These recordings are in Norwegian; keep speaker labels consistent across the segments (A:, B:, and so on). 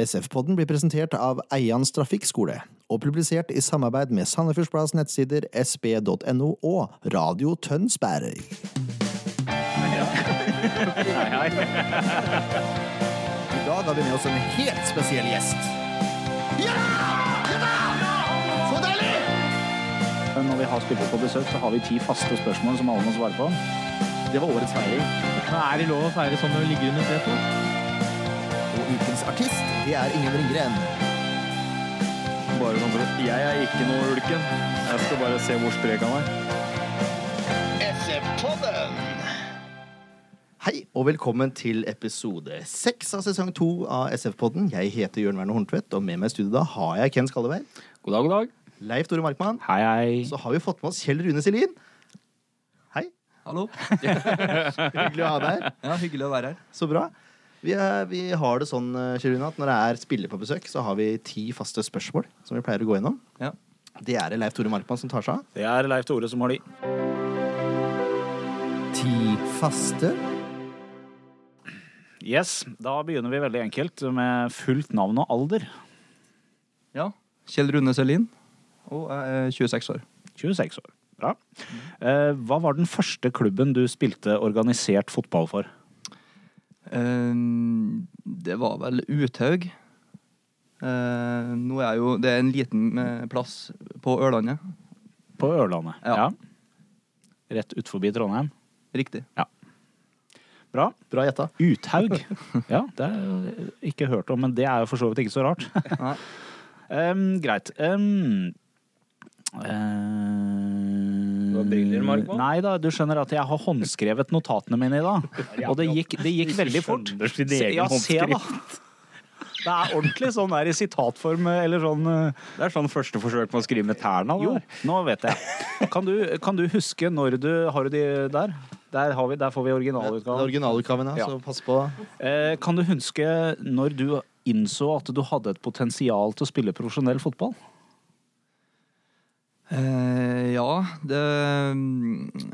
A: SF-podden blir presentert av Eians Trafikkskole og publisert i samarbeid med Sandefjordsplass nettsider sb.no og Radio Tønsberg. I dag har vi med oss en helt spesiell gjest.
B: Men Eh, når vi har spillere på besøk, så har vi ti faste spørsmål som alle må svare på. Det var årets feiring.
C: Men er det lov å feire sånn når du ligger under setet?
A: Og ukens artist, det er Ingen Ringgren.
D: Bare sånn for at Jeg er ikke noe ulken. Jeg skal bare se hvor sprek han er.
A: Hei, og velkommen til episode seks av sesong to av SF-podden. Jeg heter Jørn Werner Horntvedt, og med meg i studio da har jeg Ken Skalleberg,
B: God dag, god dag.
A: Leif Tore Markmann,
B: Hei, hei.
A: så har vi fått med oss Kjell Rune Selin. Hei.
C: Hallo.
A: Hyggelig å ha deg her.
C: Ja, hyggelig å være her.
A: Så bra. Vi, er, vi har det sånn, eh, Kjell Rune, at når det er spiller på besøk, så har vi ti faste spørsmål som vi pleier å gå gjennom.
C: Ja.
A: Det er det Leif Tore Markmann som tar seg av.
B: Det er Leif Tore som har de.
A: Ti faste?
B: Yes, da begynner vi veldig enkelt med fullt navn og alder.
C: Ja. Kjell Rune Selin. Og jeg er 26 år.
B: 26 år. Bra. Eh, hva var den første klubben du spilte organisert fotball for?
C: Ehm, det var vel Uthaug. Ehm, nå er jeg jo Det er en liten eh, plass på Ørlandet.
B: På Ørlandet.
C: Ja.
B: Rett ut forbi Trondheim.
C: Riktig.
B: Bra.
A: Bra gjetta.
B: Uthaug. Ja, det er ikke hørt om, men det er jo for så vidt ikke så rart.
C: Nei.
B: Em, greit. Um, du
D: har briller, Markmann?
B: eh, Nei da, du skjønner at jeg har håndskrevet notatene mine i dag. Og det gikk, det gikk veldig fort.
D: skjønner sin
B: Se-
D: egen
B: ja, se da. Det er ordentlig sånn der i sitatform eller sånn eh,
D: Det er sånn første forsøk på å skrive med tærne.
B: Jo, nå vet jeg. Kan du, kan du huske når du Har du de der? Der, har vi, der får vi
A: Den
B: originalutgaven.
A: originalutgaven, ja.
B: Ja.
A: Så pass på.
B: Eh, kan du huske når du innså at du hadde et potensial til å spille profesjonell fotball?
C: Eh, ja, det mm,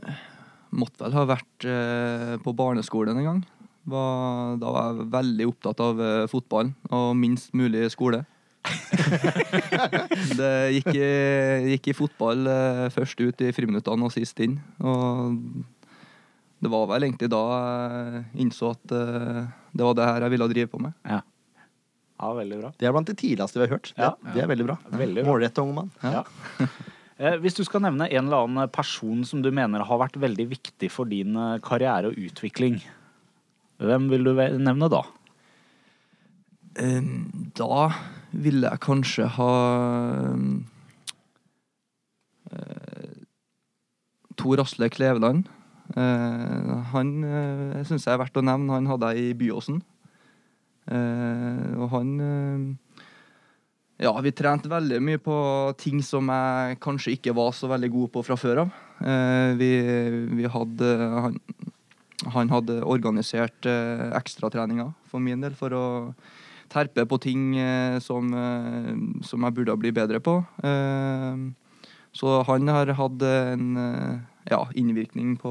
C: måtte vel ha vært eh, på barneskolen en gang. Var, da var jeg veldig opptatt av eh, fotballen og minst mulig skole. det gikk i, gikk i fotball eh, først ut i friminuttene og sist inn. Og det var vel egentlig da jeg innså at eh, det var det her jeg ville drive på med.
B: Ja. ja, veldig bra.
A: Det er blant de tidligste vi har hørt. Det,
B: Ja.
A: det er veldig bra.
B: Veldig bra.
A: Målretta ung mann.
B: Ja. Eh, Hvis du skal nevne en eller annen person som du mener har vært veldig viktig for din eh, karriere og utvikling, hvem vil du ve- nevne da?
C: Ehm, da ville jeg kanskje ha ehm, eh, Tor Asle Kleveland. Eh, han uh, syns jeg er verdt å nevne. Han hadde jeg i Byåsen. Eh, og han eh, Ja, vi trente veldig mye på ting som jeg kanskje ikke var så veldig god på fra før av. Eh, vi, vi hadde eh, han, han hadde organisert eh, ekstratreninger for min del for å terpe på ting eh, som, eh, som jeg burde bli bedre på. Eh, så han har hatt en eh, ja, innvirkning på,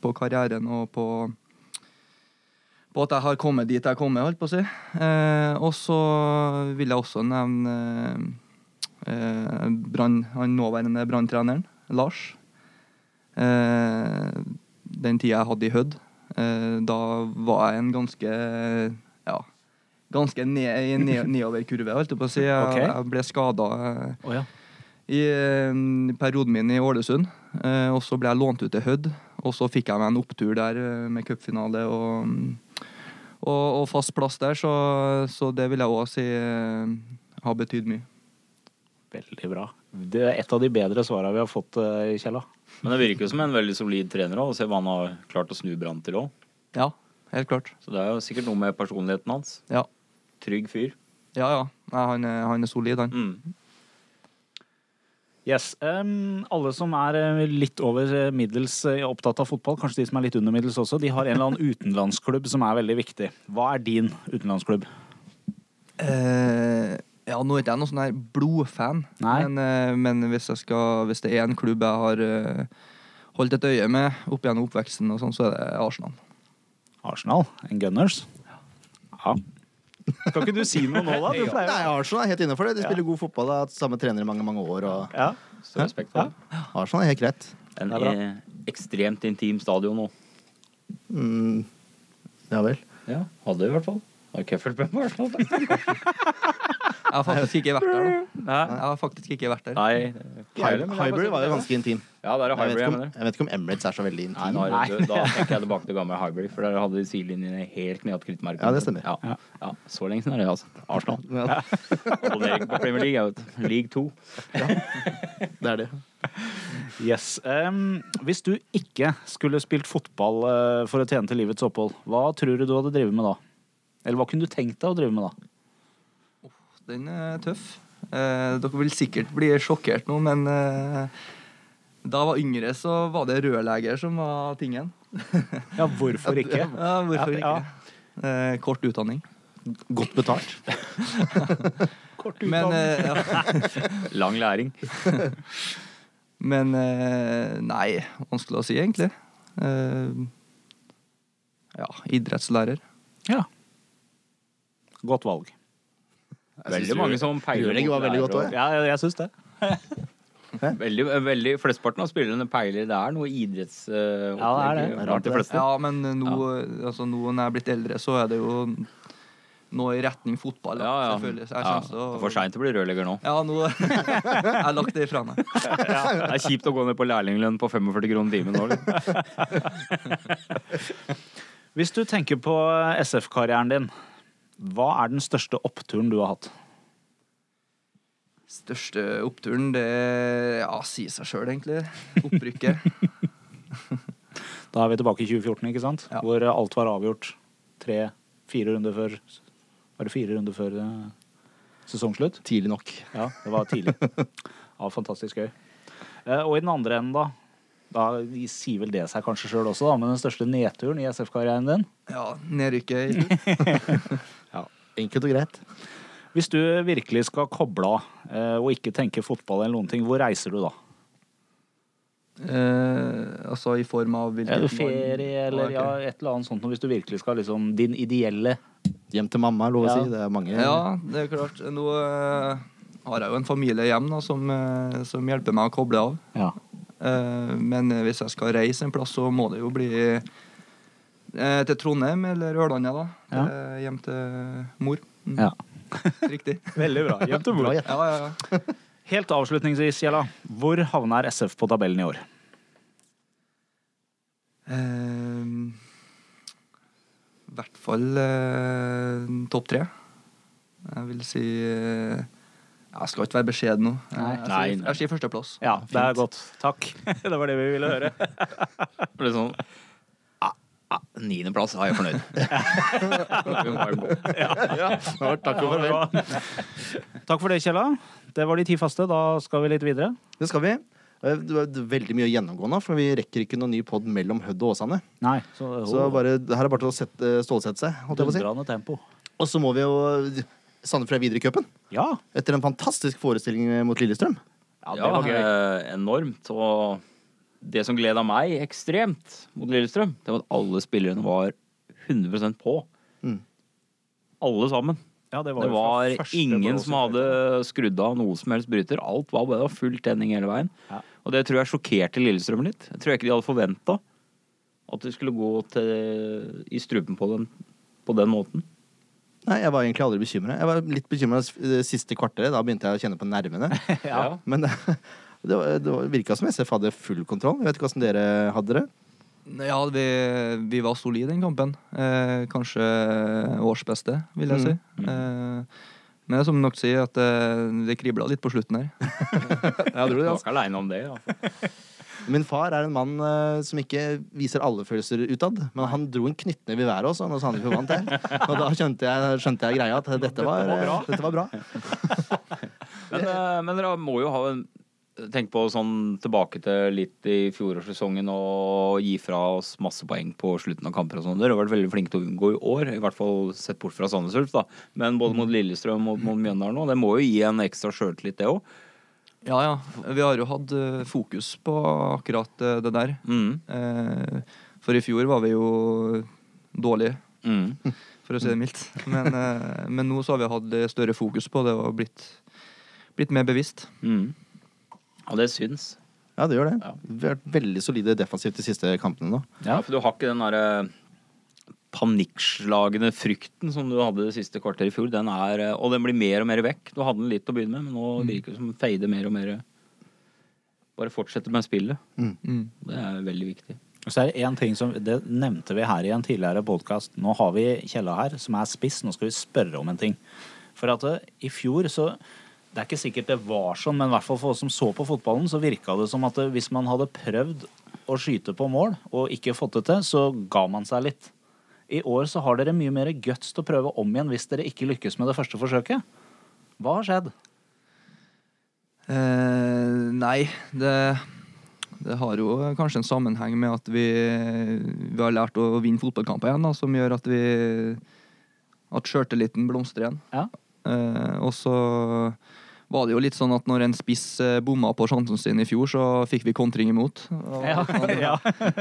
C: på karrieren og på, på at jeg har kommet dit jeg kommer, holdt på å si. Eh, og så vil jeg også nevne eh, Brann- han nåværende branntreneren, Lars. Eh, den tida jeg hadde i Hødd. Eh, da var jeg en ganske ja, ganske ned, i en ned, nedoverkurve, holdt jeg på å si. Jeg,
B: Ok.
C: jeg ble eh, skada
B: Å ja.
C: i eh, perioden min i Ålesund. Eh, og så ble jeg lånt ut til Hødd, og så fikk jeg meg en opptur der eh, med cupfinale og, mm, og, og fast plass der, så, så det vil jeg òg si eh, har betydd mye.
B: Veldig bra. Det er et av de bedre svara vi har fått, eh, Kjella.
D: Men det virker jo som en veldig solid trener òg, og se hva han har klart å snu Brann til òg.
C: Ja, helt klart.
D: Så det er jo sikkert noe med personligheten hans.
C: Ja,
D: Trygg fyr.
C: ja. ja. Nei, han, er, han er solid, han.
D: Mm.
B: Yes. em, alle som er eh, litt over eh, middels eh, opptatt av fotball, kanskje de som er litt under middels også, de har en eller annen utenlandsklubb som er veldig viktig. Hva er din utenlandsklubb?
C: Eh, ja, nå er ikke jeg noen sånn her blodfan,
B: Nei.
C: men, eh, men hvis, jeg skal, hvis det er en klubb jeg har eh, holdt et øye med opp gjennom oppveksten, og sånn, så er det Arsenal.
B: Arsenal? En Gunners? Ja. Kan ikke du si noe nå, da? Du pleier
A: Nei, Arsenal er helt inne for det. De spiller god fotball, har hatt samme trener i mange mange år. Og
B: Ja.
E: Så respekt for det.
A: Arsenal er helt greit.
E: En
B: Det er bra.
E: eh, ekstremt intim stadion nå.
A: Mm. Ja vel.
E: Ja, hadde det i hvert fall. Har ikke jeg fulgt med på Arsenal? faktisk.
C: Jeg har faktisk ikke vært der, da.
E: Nei.
C: Jeg har faktisk ikke vært der.
E: Nei. det er ikke jeg heller, men jeg har bare
A: Hybrid var jo
E: sett det.
A: ganske intim.
E: Ja, der er
A: Jeg vet, ikke
E: hybrid, jeg
A: om,
E: mener.
A: jeg vet ikke om Emirates er så veldig
E: Nei,
A: intim.
E: nå er det, da tenker jeg tilbake til gamle hybrid, for der hadde de sidelinjene helt ned til krittmerket.
A: Ja, det stemmer.
E: Ja. ja, så lenge siden er det, altså. Arsenal. Abonnering på Premier League, jeg vet. League 2.
A: Det er det.
B: Yes. Em, hvis du ikke skulle spilt fotball eh, for å tjene til livets opphold, hva tror du du hadde drevet med da? Eller hva kunne du tenkt deg å drive med da?
C: Den er tøff. Eh, dere vil sikkert bli sjokkert nå, men eh, da jeg var yngre, så var det rørleger som var tingen.
B: Ja, hvorfor ikke?
C: Ja, hvorfor ikke?
B: Ja.
C: Eh, kort utdanning.
A: Godt betalt.
C: Men, eh, ja.
E: Lang læring.
C: Men eh, nei, vanskelig å si egentlig. Eh, ja, idrettslærer.
B: Ja. Godt valg.
E: Veldig mange som peiler
A: Rørlegger var
E: mot
A: veldig
E: lærer
A: godt
E: og-
A: også,
B: Ja, jeg, jeg syns det.
E: Veldig, veldig, Flesteparten av spillerne peiler. Det er noe idretts... eh,
B: Ja, det er det.
E: opplegg Blant de fleste.
C: Ja, men nå, Altså, nå når jeg er blitt eldre, så er det jo noe i retning fotball. da,
E: Ja, ja.
C: Selvfølgelig. Så jeg
E: Ja,
C: kommer til å-
E: For seint å bli rørlegger nå.
C: Ja, nå Jeg har lagt det fra meg.
E: Det er kjipt å gå ned på lærlinglønn på 45 kroner timen nå. liksom. eller?
B: Hvis du tenker på SF-karrieren din, hva er den største oppturen du har hatt?
C: Største oppturen, det ja, sier seg sjøl, egentlig. Opprykket.
B: Da er vi tilbake i 2014, ikke sant?
C: Ja.
B: Hvor eh, alt var avgjort tre-fire runder før Var det fire runder før eh, sesongslutt?
A: Tidlig nok.
B: Ja, det var tidlig. Ja, fantastisk gøy. Eh, Og i den andre enden, da. Da sier vel det seg kanskje sjøl også, da, men den største nedturen i SF-karrieren din?
C: Ja, nedrykket i slutt.
A: Enkelt og greit.
B: Hvis du virkelig skal koble av eh, og ikke tenke fotball eller noen ting, hvor reiser du da?
C: Eh, altså i form av hvilken
B: Er du
C: mann-
B: ferie eller ja,
C: ok.
B: et eller annet sånt, hvis du virkelig skal liksom din ideelle
A: Hjem til mamma, er lov å
B: Ja.
A: si. Det er mange
C: Ja, det er klart. Nå eh, har jeg jo en familie hjem da, som, eh, som hjelper meg å koble av.
B: Ja.
C: Eh, men hvis jeg skal reise en plass, så må det jo bli eh, til Trondheim eller Ørlandet, da.
B: Ja.
C: Eh, hjem til mor. Mm,
B: ja.
C: Riktig.
B: Veldig bra. Hjem til
A: Bra
B: mor.
A: gjetta.
C: Ja, ja, ja.
B: Helt avslutningsvis, Gjella. Hvor havner SF på tabellen i år?
C: Ehm, I hvert fall eh, topp tre. Jeg vil si eh, Jeg skal ikke være beskjeden nå. Eh, Jeg, jeg,
E: Nei,
C: sier-
E: nei.
C: jeg sier førsteplass.
B: Ja, det er godt. Takk. Det var det vi ville høre.
E: Det er sånn ah, ah, Niendeplass er jeg fornøyd. Vi må bare gå.
A: Takk og farvel.
B: Takk for det, Kjella. Det var de ti faste. Da skal vi litt videre.
A: Det skal vi. Eh, Det var veldig mye å gjennomgå nå, for vi rekker ikke noen ny pod mellom Hødd og Åsane.
B: Nei, så,
A: Så bare, det her er bare til å sette, eh, stålsette seg. holdt jeg på å si.
B: Dundrende tempo.
A: Og så må vi jo eh, Sandefjord er videre i cupen.
B: Ja.
A: Etter en fantastisk forestilling mot Lillestrøm.
B: ja, det
E: Ja,
B: var gøy.
E: eh, enormt. Og det som gleda meg ekstremt mot Lillestrøm, det var at alle spillerne var 100 på.
A: Mm.
E: Alle sammen.
B: Ja, det
E: Det
B: jo
E: var
B: fra første
E: ingen
B: blå-
E: som hadde skrudd av noe som helst bryter. Alt var bare full tenning hele veien.
B: Ja.
E: Og det tror jeg sjokkerte Lillestrøm litt. Jeg tror ikke de hadde forventa at det skulle gå til, i strupen på den, på den måten.
A: Nei, jeg var egentlig aldri bekymra. Jeg var litt bekymra det siste kvarteret. Da begynte jeg å kjenne på nervene.
B: Ja.
A: Men det, var- det var- virka som SF hadde full kontroll. Jeg vet ikke åssen dere hadde det.
C: Ja, vi, vi var solide i den kampen. Eh, kanskje årsbeste, vil jeg si.
E: Mm.
C: Eh, men det er som nok sier, at eh, det kribla litt på slutten her.
A: Ja,
E: Du var ikke aleine om det. Altså.
A: Min far er en mann eh, som ikke viser alle følelser utad, men han dro en knyttneve i været også når Sandefjord vant her. Og da skjønte jeg, skjønte jeg greia, at dette var, eh, dette var bra.
E: Men, eh, men dere må jo ha en Tenk på sånn tilbake til litt i fjorårssesongen og gi fra oss masse poeng på slutten av kamper og sånn. Dere har vært veldig flinke til å unngå i år, i hvert fall sett bort fra Sandnes Ulf, da. Men både mot Lillestrøm og mot Mjøndalen nå, det må jo gi en ekstra sjøltillit, det òg.
C: Ja, ja. Vi har jo hatt eh, fokus på akkurat eh, det der.
E: Mm.
C: Eh, For i fjor var vi jo dårlige.
E: Mm.
C: for å si det mildt. Men, eh, men nå så har vi hatt eh, større fokus på det og blitt, blitt mer bevisst.
E: Mm. Og det syns.
A: Ja, det gjør det.
E: Ja.
A: Vi har vært veldig solide defensivt de siste kampene nå.
E: Ja, for du har ikke den derre panikkslagne frykten som du hadde det siste kvarteret i fjor. Den er, eh, og den blir mer og mer vekk. Du hadde den litt å begynne med, men nå virker det som den fader mer og mer. Bare fortsette med spillet.
C: Mm.
E: Det er veldig viktig.
B: Og Så er det en ting som, Det nevnte vi her i en tidligere podkast. Nå har vi Kjella her, som er spiss. Nå skal vi spørre om en ting. For at eh, i fjor så Det er ikke sikkert det var sånn, men i hvert fall for oss som så på fotballen, så virka det som at eh, hvis man hadde prøvd å skyte på mål og ikke fått det til, så ga man seg litt. I år så har dere mye mer guts til å prøve om igjen hvis dere ikke lykkes med det første forsøket. Hva har skjedd?
C: Eh, nei, det, det har jo kanskje en sammenheng med at vi, vi har lært å vinne fotballkamper igjen, da, som gjør at vi at sjøltilliten blomstrer igjen.
B: Ja.
C: Eh, og så var det jo litt sånn at når en spiss eh, bomma på sjansen sin i fjor, så fikk vi kontring imot. Og
B: Ja, ja.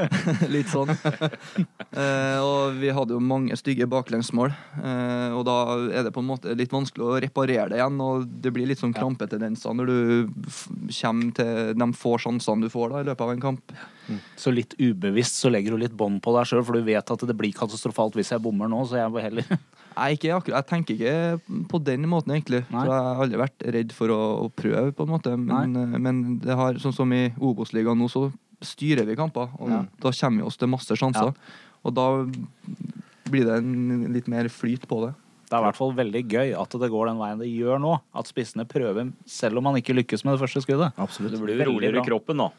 C: litt sånn. Eh, og vi hadde jo mange stygge baklengsmål. eh, og da er det på en måte litt vanskelig å reparere det igjen. Og det blir litt sånn krampetendenser når du f kommer til de få sjansene du får da i løpet av en kamp.
B: Så litt ubevisst så legger du litt bånd på deg sjøl, for du vet at det blir katastrofalt hvis jeg bommer nå, så jeg må heller
C: Jeg, er ikke, akkurat, jeg tenker ikke på den måten, egentlig.
B: Nei.
C: Så jeg har aldri vært redd for å, å prøve, på en måte. Men, eh, men det har, sånn som i Obos-ligaen nå, så styrer vi kamper. Og da kommer vi oss til masse sjanser.
B: Ja.
C: Og da blir det en, litt mer flyt på det.
B: Det er i hvert fall veldig gøy at det går den veien det gjør nå. At spissene prøver, selv om man ikke lykkes med det første skuddet.
E: Det
A: Absolutt.
E: blir
B: Veldig
E: jo roligere i
B: bra.
E: kroppen, da.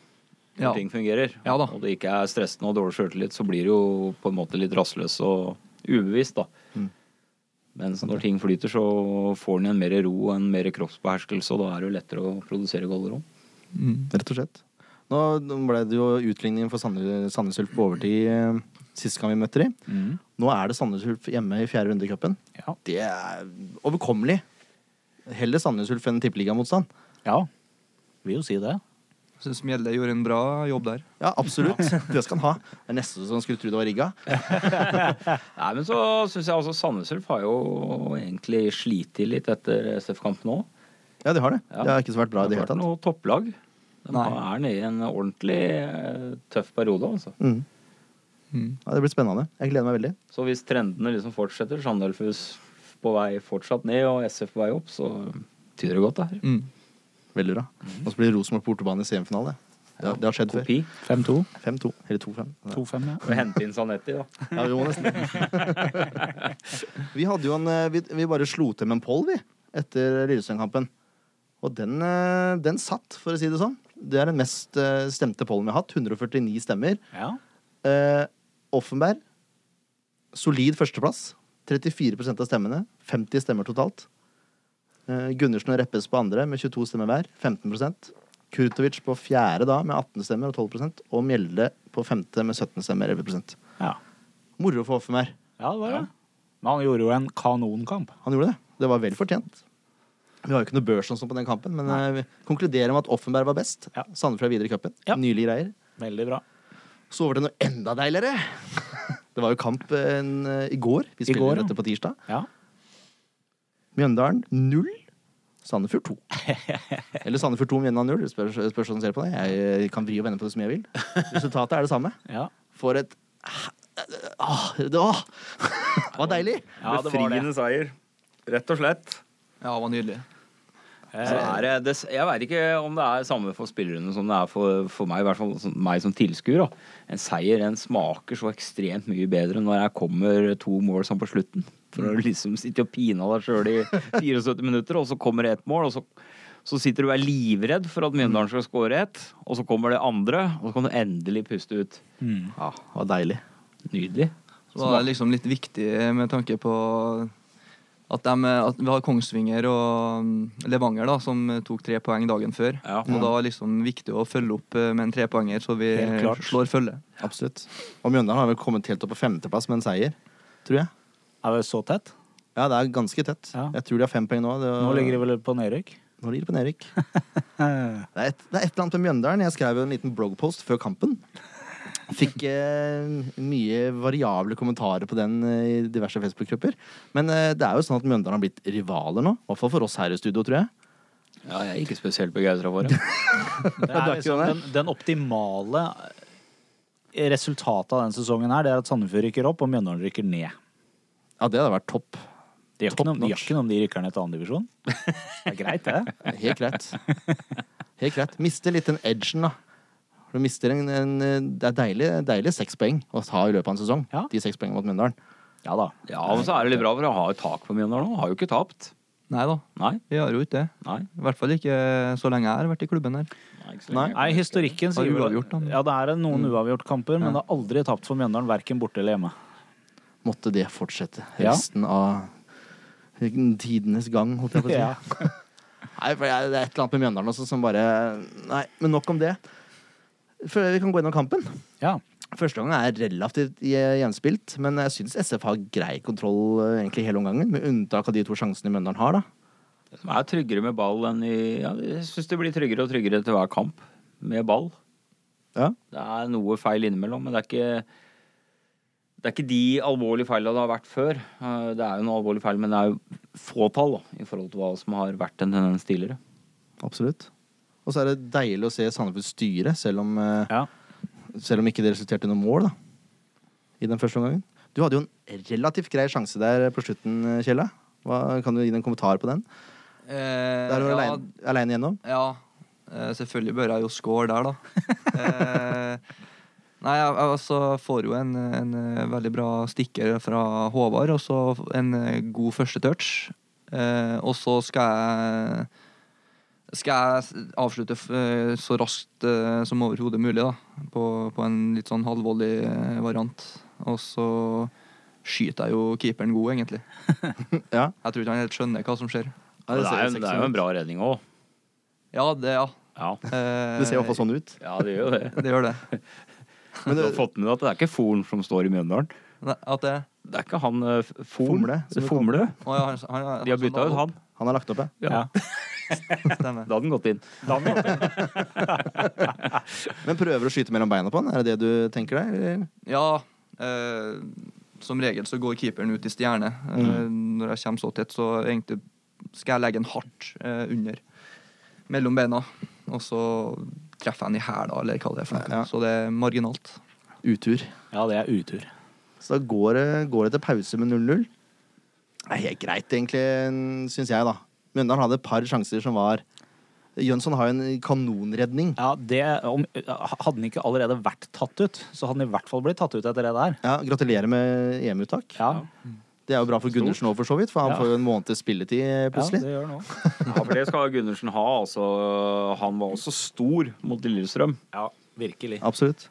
E: Når ting fungerer.
C: Ja da.
E: Og det ikke er stressende og dårlig sjøltillit, så blir du jo på en måte litt rastløs og ubevisst, da.
C: Mm.
E: Mens når ting flyter, så får den en mer ro og en mer kroppsbeherskelse, og da er det jo lettere å produsere goller òg.
A: Rett og slett. Nå nå ble det jo utligning for Sandnes Sandnes Ulf på overtid eh, sist gang vi møtte dem.
E: Mm.
A: Nå er det Sandnes Ulf hjemme i fjerde runde i cupen.
B: Ja.
A: Det er overkommelig. Heller Sandnes Ulf enn tippeligamotstand.
B: ja. Vil jo si det.
C: Jeg syns Mjelde gjorde en bra jobb der.
A: Ja, absolutt. Det skal han ha. Det er nesten så han skulle tro det var rigga.
E: Nei, men så syns jeg altså Sandnes Ulf har jo egentlig slitt litt etter SF-kampen òg.
A: Ja, de har det.
E: Ja.
A: Det har ikke så vært bra i det
E: Det har
A: hele
E: vært
A: tatt.
E: noe topplag. De
C: Nei.
E: er nede i en ordentlig eh, tøff periode, altså.
A: Mm.
E: Mm.
A: Ja, det blir spennende. Jeg gleder meg veldig.
E: Så hvis trendene liksom fortsetter, Sandølfus på vei fortsatt ned og SF på vei opp, så tyder det godt det her.
A: Mm. Veldig bra. Og så blir det Rosenborg på bortebane i semifinale. Det, har- det har skjedd før.
E: Kopi.
B: 5-2.
A: 5-2. Eller 2-5. Ja.
B: 2-5, ja.
E: Og hente inn Sanetti, da.
A: Ja, vi må nesten Vi hadde jo en eh, Vi, vi bare slo til med en poll, vi, etter Lillestrøm-kampen. Og den, eh, den satt, for å si det sånn. Det er den mest eh, stemte pollen vi har hatt. 149 stemmer.
B: ja.
A: Eh, Offenberg, solid førsteplass. 34 av stemmene. 50 stemmer totalt. Eh, Gundersen og Reppes på andre med 22 stemmer hver. 15 Kurtovic på fjerde da med 18 stemmer og 12 Og Mjelde på femte med 17 stemmer. 11
B: Ja.
A: Moro for Offenberg.
B: ja, det var det. Men han gjorde jo en kanonkamp.
A: Han gjorde det. Det var vel fortjent. Vi har jo ikke noe børs og sånn på den kampen, men eh, vi konkluderer med at Offenberg var best.
B: Ja.
A: Sandefjord er videre i cupen.
B: Ja.
A: Nylige greier.
B: Veldig bra.
A: Så var det noe enda deiligere. Det var jo kamp eh, en, eh, i går. Vi spiller
B: går, ja.
A: dette på tirsdag.
B: Ja.
A: Mjøndalen 0. Sandefjord 2. Eller Sandefjord 2 Mjøndalen 0. Det Spørs, det spørs hvordan du ser på det. Jeg eh, kan vri og vende på det som jeg vil. Resultatet er det samme.
B: ja.
A: For et Åh, det åh. Det var deilig!
B: Ja, det var det.
E: Befriende seier. Rett og slett.
C: Ja, det var nydelig.
A: Eh,
E: Så er det, det, jeg veit ikke om det er samme for spillerne som det er for, for meg, i hvert fall som- meg som tilskuer. da. En seier den smaker så ekstremt mye bedre når det kommer to mål sånn på slutten. For du liksom sitter og piner deg sjøl i 74 minutter, og så kommer det ett mål, og så, så sitter du og er livredd for at Mjøndalen skal skåre ett, og så kommer det andre, og så kan du endelig puste ut.
B: Mm.
A: Ja, det var deilig.
E: Nydelig.
C: Så var det liksom litt viktig med tanke på at, dem- at vi har Kongsvinger og mm, Levanger, da, som tok tre poeng dagen før.
E: Ja.
C: Og da var det liksom viktig å følge opp eh, med en trepoenger, så vi
B: Helt klart.
C: slår følge.
A: Absolutt. Og Mjøndalen har vel kommet helt opp på femteplass med en seier, tror jeg.
B: Er det så tett?
A: Ja, det er ganske tett.
B: Ja.
A: Jeg tror de har fem poeng nå. Det var...
B: Nå ligger de vel på nedrykk?
A: Nå ligger de på nedrykk.
B: Eh.
A: det, er et, det er et eller annet med Mjøndalen. Jeg skrev jo en liten bloggpost før kampen Fikk eh, mye variable kommentarer på den eh, i diverse Facebook-grupper. Men eh, det er jo sånn at Mjøndalen har blitt rivaler nå. I hvert fall for oss her i studio, tror jeg.
E: Ja, jeg er ikke spesielt begeistra for det.
B: Det
A: Du
B: er
A: er ikke
B: liksom
A: det?
B: den, den optimale eh, resultatet av denne sesongen her, det er at Sandefjord rykker opp og Mjøndalen rykker ned.
A: Ja, det hadde vært topp.
B: Det gjør ikke noe- det gjør ikke noe om de rykker ned til annen divisjon. Det er greit, det.
A: Helt greit. Helt greit. Mister litt den edgen, da. Du mister en, en eh, Det er deilig, deilig seks poeng å ta i løpet av en sesong.
B: Ja.
A: De seks poengene mot Mjøndalen.
B: Ja da.
E: Ja, men så er det litt bra, for jeg har jo tak på Mjøndalen nå. Har jo ikke tapt.
C: Nei da,
E: Nei.
C: vi har jo ikke det.
E: Nei.
C: I hvert fall ikke så lenge jeg har vært i klubben her.
E: Nei, ikke så
A: Nei.
E: lenge.
B: Nei, historikken
C: Har
B: sier vel
C: uavgjort, da.
B: Ja, det er noen uavgjortkamper, men det har aldri tapt for Mjøndalen, verken borte eller hjemme.
A: Måtte det fortsette
B: Ja.
A: resten av tidenes gang, holdt jeg på å si.
B: Ja.
A: Nei, for jeg, det er et eller annet med Mjøndalen også som bare Nei, men nok om det. Før vi kan gå gjennom kampen.
B: Ja.
A: Første gangen er relativt je- jevnspilt, men jeg syns SF har grei kontroll eh, egentlig hele omgangen, med unntak av de to sjansene Mjøndalen har, da.
E: De er tryggere med ball enn i ja, Jeg syns det blir tryggere og tryggere til hver kamp med ball.
A: Ja.
E: Det er noe feil innimellom, men det er ikke det er ikke de alvorlige feilene det har vært før. Eh, Det er jo noen alvorlige feil, men det er jo få tall da, i forhold til hva som har vært en tendens tidligere.
A: Absolutt. Og så er det deilig å se Sandefjord styre, selv om, eh,
B: ja.
A: selv om ikke det resulterte i noe mål da, i den første omgangen. Du hadde jo en relativt grei sjanse der på slutten, Kjella. Hva, kan du gi den en kommentar på den? Der var du
C: ja,
A: aleine- aleine igjennom.
C: ja. Eh, selvfølgelig bør jeg jo score der, da. eh, nei, jeg, jeg altså, får jo en, en eh, veldig bra stikker fra Håvard, og så en eh, god første touch. Eh, og så skal jeg skal jeg s- avslutte f- eh, så raskt eh, som overhodet mulig, da. På, på en litt sånn halvvolley eh, variant. Og så skyter jeg jo keeperen god, egentlig.
A: Ja.
C: Jeg tror ikke han helt skjønner hva som skjer.
A: Ja,
E: det, er
A: ser
E: jo, det er jo
A: sexy ut.
E: en bra redning òg.
C: Ja, det, ja.
E: Ja.
C: Eh,
A: Det ser i hvert fall sånn ut.
E: ja, det gjør jo det.
C: Det gjør det.
E: Men du har fått med deg at det er ikke Forn som står i Mjøndalen.
C: Nei, At det
E: Det er ikke han eh, F- Forn.
A: Fomle, som vi
E: Fomle.
C: Å ja, han, han, han,
E: De har bytta ut han.
A: Han har lagt opp, ja.
B: ja.
C: Stemmer.
E: Da hadde han gått inn.
A: Men prøver å skyte mellom beina på han? Er det det du tenker deg? eller?
C: Ja. Eh, som regel så går keeperen ut i stjerne. Eh,
E: Mm.
C: når jeg kommer så tett, så egentlig skal jeg legge den hardt eh, under. Mellom beina. Og så treffer jeg den i hæla, eller hva det er. for noe.
A: Ja.
C: Så det er marginalt.
A: Utur.
B: ja, det er utur.
A: Så da går det, går det til pause med 0-0. Det er helt greit, egentlig, syns jeg, da. Mjøndalen hadde et par sjanser som var Jønsson har jo en kanonredning.
B: Ja, det, om, hadde den ikke allerede vært tatt ut, så hadde den i hvert fall blitt tatt ut etter det der.
A: Ja, Gratulerer med EM-uttak.
B: Ja,
A: Det er jo bra for Gundersen òg, for så vidt, for han
B: Ja.
A: får jo en måneds spilletid eh,
B: ja det
A: plutselig.
B: gjør den også.
E: Ja, for det skal Gundersen ha. Altså, han var også stor mot Lillestrøm.
B: Ja, virkelig.
A: Absolutt.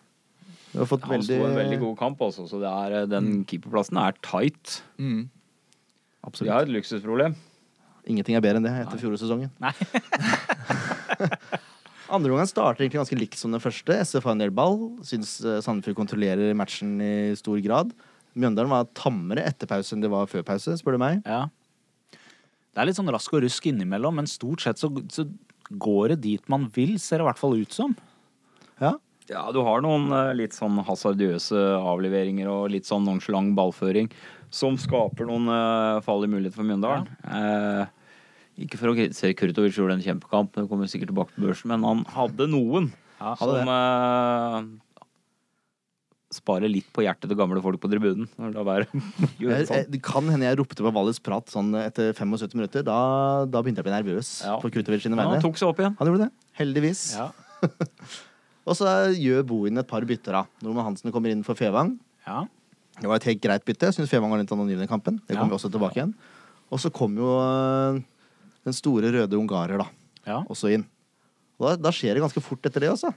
A: Du har fått
E: Han
A: veldig,
E: sto en veldig god kamp, altså, så det er, den keeperplassen er tight.
C: Mm.
E: Vi
A: Absolutt.
E: har et luksusproblem.
A: Ingenting er bedre enn det etter fjorårssesongen.
B: Nei.
A: Andre omgang starter egentlig ganske likt som den første. SF har en del ball. Syns eh, Sandefjord kontrollerer matchen i stor grad. Mjøndalen var tammere etter pause enn de var før pause, spør du meg.
B: Ja. Det er litt sånn rask og rusk innimellom, men stort sett så, så går det dit man vil, ser det i hvert fall ut som.
A: Ja.
E: Ja, du har noen eh, litt sånn hasardiøse avleveringer og litt sånn nonchalant ballføring som skaper noen eh, fall i mulighet for Mjøndalen. Eh, ikke for å kritisere Kurtovic gjorde en kjempekamp, det kommer sikkert tilbake på børsen, men han hadde noen
B: Ja,
E: som eh, sparer litt på hjertet til gamle folk på tribunen. Når det er
A: Jeg,
E: gjøre
A: jeg,
E: sånn.
A: det kan hende jeg ropte på Valles prat sånn etter 75 minutter. Da, da begynte jeg å bli nervøs
E: Ja.
A: på Krutovic sine
E: Men
A: vegne.
E: han tok seg opp igjen.
A: Han gjorde det. Heldigvis.
B: Ja.
A: Og så gjør Bohin et par bytter. da. Norman Hansen kommer inn for Fevang.
B: Ja.
A: Det var et helt greit bytte. Jeg syns Fevang var litt anonym i kampen. Det kommer vi
B: Ja.
A: også tilbake igjen. Og så kom jo øh, den store røde ungarer, da.
B: ja.
A: også inn. Og da, da skjer det ganske fort etter det også.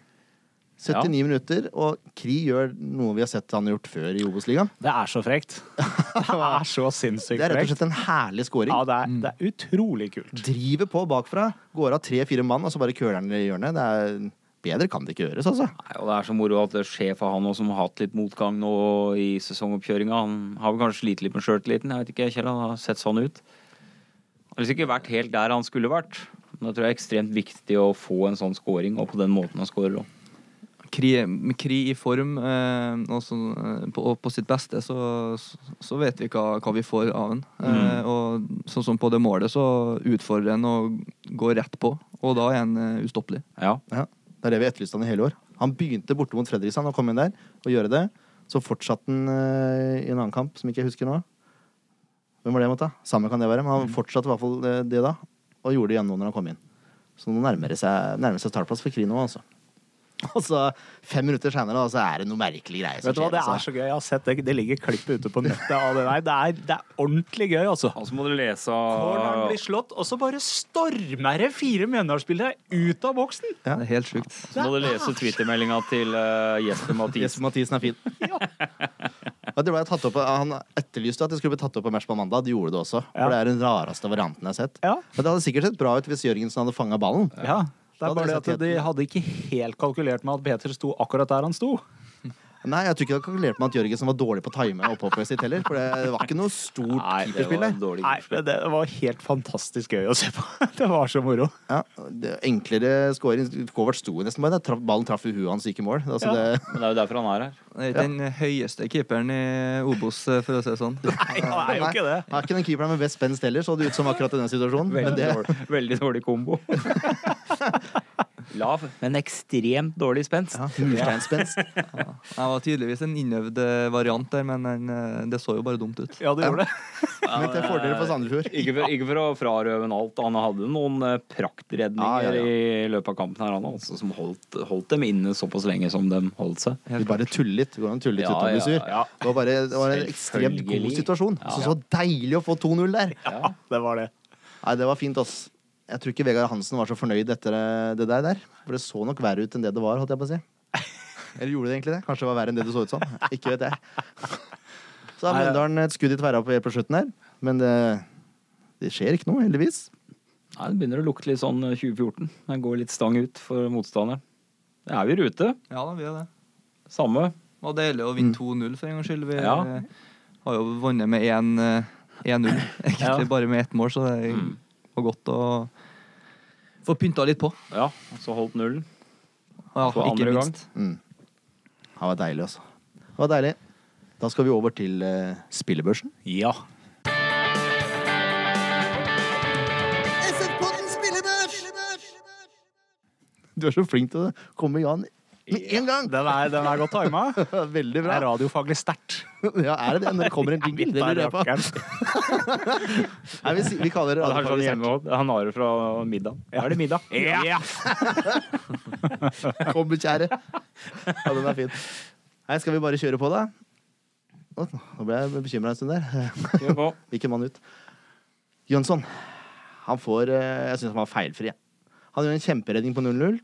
A: 79 minutter, og Kri gjør noe vi har sett han har gjort før i Obos-ligaen.
B: Det er så frekt. Det er så sinnssykt
A: Det er rett og
B: frekt.
A: slett en herlig scoring.
B: Ja, det er, det er utrolig kult.
A: Driver på bakfra, går av tre-fire mann, og så bare køler han i hjørnet. Det er Bedre kan det ikke gjøres, altså.
E: Nei, og Det er så moro at det skjer for han også, som har hatt litt motgang nå i sesongoppkjøringa. Han har vel kanskje slitt litt med sjøltilliten. Jeg vet ikke, Kjell. Han har sett sånn ut. Han har liksom ikke vært helt der han skulle vært. Men jeg tror det er ekstremt viktig å få en sånn scoring, og på den måten han scorer òg.
C: Kri, kri i form, eh, og, så, eh, på, og på sitt beste, så, så vet vi hva, hva vi får av han.
A: Mm.
C: Eh, og sånn som på det målet, så utfordrer han og går rett på, og da er han eh, ustoppelig.
E: Ja.
A: Ja, Det er det vi etterlyste han i hele år. Han begynte borte mot Fredrikstad og kom inn der og gjøre det. Så fortsatte han eh, i en annen kamp som ikke jeg husker nå. Hvem var det mot, da? Samme kan det være, men
B: Mm.
A: han fortsatte i hvert fall eh, det da. Og gjorde det igjen nå når han kom inn. Så nå nærmer det seg, nærmer det seg startplass for Krino, altså. Og så fem minutter seinere, så er det noe merkelig greie som
B: Vet du hva,
A: skjer.
B: Det er
A: altså.
B: så gøy. Jeg har sett det, det ligger klipp ute på nettet av det der. Det er, det er ordentlig gøy, altså.
E: Altså må du lese
B: Corneren
E: av
B: blir slått, og så bare stormer det fire Mjøndalsspillere ut av boksen!
A: Ja.
C: Det er helt sjukt.
E: Så må du lese Twitter-meldinga til eh, Jesper
A: Jesper
E: Mathisen.
A: Mathisen er fin. Og det ble tatt opp, han etterlyste at det skulle bli tatt opp på match på mandag. Det gjorde det også.
B: Ja.
A: For det er den rareste varianten jeg har sett.
B: Ja.
A: Men det hadde sikkert sett bra ut hvis Jørgensen hadde fanga ballen.
B: Ja, Det
A: Da
B: er
A: hadde
B: bare det
A: jeg sett
B: at de hadde ikke helt kalkulert med at Peter sto akkurat der han sto.
A: Nei, jeg tror ikke det har kalkulert med at Jørgensen var dårlig på å time opphoppet sitt heller. For det var ikke noe stort
E: Nei, det
A: keeperspill
E: var
A: der.
E: dårlig.
B: Nei, men Det var helt fantastisk gøy å se på. Det var så moro.
A: Ja, det- enklere scoring. Kovac sto jo nesten bare der. Traff- Ballen traff i huet hans, gikk i mål. Altså,
B: Ja.
A: det,
E: Men det er jo derfor han er her.
C: Det er ikke den høyeste keeperen i Obos, eh, for å si det sånn.
B: Nei, det er jo ikke det.
A: er ikke den keeperen med best spenst heller, så det ut som akkurat i den situasjonen. Men
E: Veldig,
A: det,
E: dårlig, veldig dårlig kombo. Lav, men ekstremt dårlig spenst.
A: ja, mursteinspenst.
C: Jeg var tydeligvis en innøvd eh, variant der, men han, eh, det så jo bare dumt ut.
B: Ja, det gjorde det.
A: Men til fordel for Sandefjord.
E: Ikke for, ikke for å frarøve ham alt. Han hadde noen eh,
A: Ja, ja,
E: praktredninger
A: ja.
E: i løpet av kampen her, han altså, som holdt, holdt dem inne såpass lenge som de holdt seg.
A: Du
C: Helt
A: bare tuller litt. Det går an å tulle litt
E: Ja,
A: uten å bli
E: ja,
A: sur.
E: ja.
A: Det var, bare, det var en ekstremt god
E: Selvfølgelig.
A: situasjon.
E: Ja.
A: Så, så deilig å få 2-0 der.
B: Ja, det var det.
A: Nei, det var fint, ass. Jeg tror ikke Vegard Hansen var så fornøyd etter eh, det der. der. For det så nok verre ut enn det det var, holdt jeg på å si. Eller gjorde det egentlig det? Kanskje det var verre enn det det så ut som. Ikke vet jeg. Så har Mjøndalen et skudd i tverra på helt på slutten her. Men det, det skjer ikke noe, heldigvis.
E: Nei, Det begynner å lukte litt sånn eh, 2014. Den går litt stang ut for motstanderen. Det er vi i rute.
C: Ja da, vi er det.
E: Samme.
C: Det var deilig å
A: Mm.
C: vinne 2-0 for en gangs skyld. Vi
E: Ja.
C: eh, har jo vunnet med 1, eh, 1-0, egentlig
E: Ja. Mm.
C: bare med ett mål, så det var godt å få pynta litt på.
E: Ja, så holdt nullen.
C: Og Ja,
E: For andre
C: ikke
E: gang.
C: minst.
A: Det var deilig, altså. Det var deilig. Da skal vi over til eh, spillebørsen.
B: Ja.
A: Du er så flink til å komme i gang med en gang!
B: Den er, den er godt tima.
A: Veldig
B: Det
A: bra.
B: er radiofaglig sterkt.
A: Ja, er det det? Når det kommer en jingle? Det lurer jeg på. Nei, vi, si- vi kaller det
E: Han har sånn
A: radiofaglig
E: hjemme, han har det fra middagen.
B: Er det middag? Ja!
A: Kom, kjære. Ja, den er fin. Nei, skal vi bare kjøre på, da? Å, Nå ble jeg bekymra en stund der.
E: Kjør på.
A: Hvilken mann ut? Jønsson. Han får eh, Jeg syns han var feilfri. jeg. Han gjør en kjemperedning på 0-0.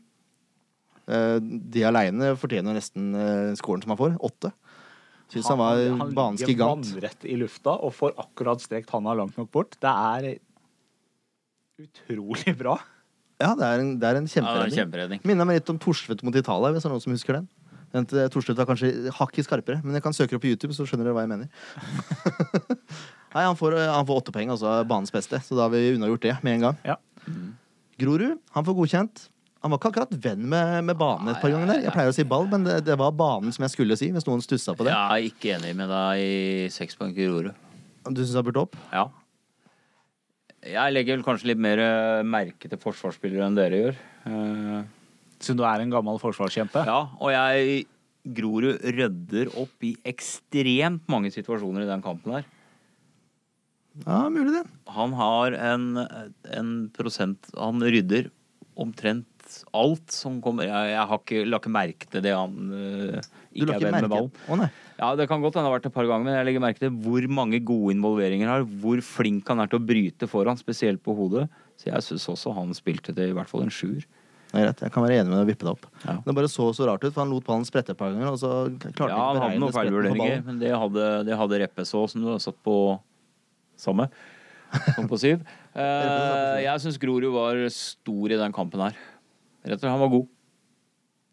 A: Eh, De aleine fortjener nesten eh, scoren som han får. Åtte. Syns han var banens gigant.
B: vannrett i lufta og får akkurat strekt handa langt nok bort. Det er utrolig bra.
A: Ja, det er en, det er en
E: Ja, det er en
A: kjemperedning.
E: kjemperedning.
A: Minner meg litt om Torstvedt mot Italia, hvis det er noen som husker den. den til Torstvedt var kanskje hakket skarpere, men jeg kan søke det opp på YouTube, så skjønner dere hva jeg mener. Nei, han får, han får åtte poeng, altså banens beste, så da har vi unnagjort det med en gang.
B: Ja.
A: Grorud, han får godkjent. Han var ikke akkurat venn med, med banen et par ganger der. Jeg pleier å si ball, men det, det var banen som jeg skulle si, hvis noen stussa på det.
E: Jeg er ikke enig med deg i seks poeng til Rorud.
A: Du syns han burde opp?
E: Ja. Jeg legger vel kanskje litt mer eh, merke til forsvarsspillere enn dere gjør. Eh,
B: Siden du er en gammel forsvarskjempe.
E: Ja, og jeg Grorud rydder opp i ekstremt mange situasjoner i den kampen her.
A: Ja, mulig det.
E: Han har en, en prosent Han rydder omtrent alt som kommer Jeg, jeg har ikke, la ikke merke til det han eh,
A: Du
E: ikke
A: la
E: er
A: ikke
E: venn med
A: merke
E: ballen.
A: Å nei.
E: Ja, Det kan godt hende det har vært et par ganger, men jeg legger merke til hvor mange gode involveringer han har. Hvor flink han er til å bryte foran, spesielt på hodet. Så jeg syns også han spilte det i hvert fall en sjuer.
A: Det er greit, jeg kan være enig med deg og vippe det opp.
E: Ja.
A: Det bare så så rart ut, for han lot ballen sprette et par ganger, og så klarte
E: Ja, han hadde
A: han ikke å beregne
E: noen
A: spretten på
E: feilvurderinger,
A: ballen.
E: men det hadde, det hadde Reppes òg, som du også på samme. Som på syv. Eh, jeg syns Grorud var stor i den kampen her. Rett og slett, han var god.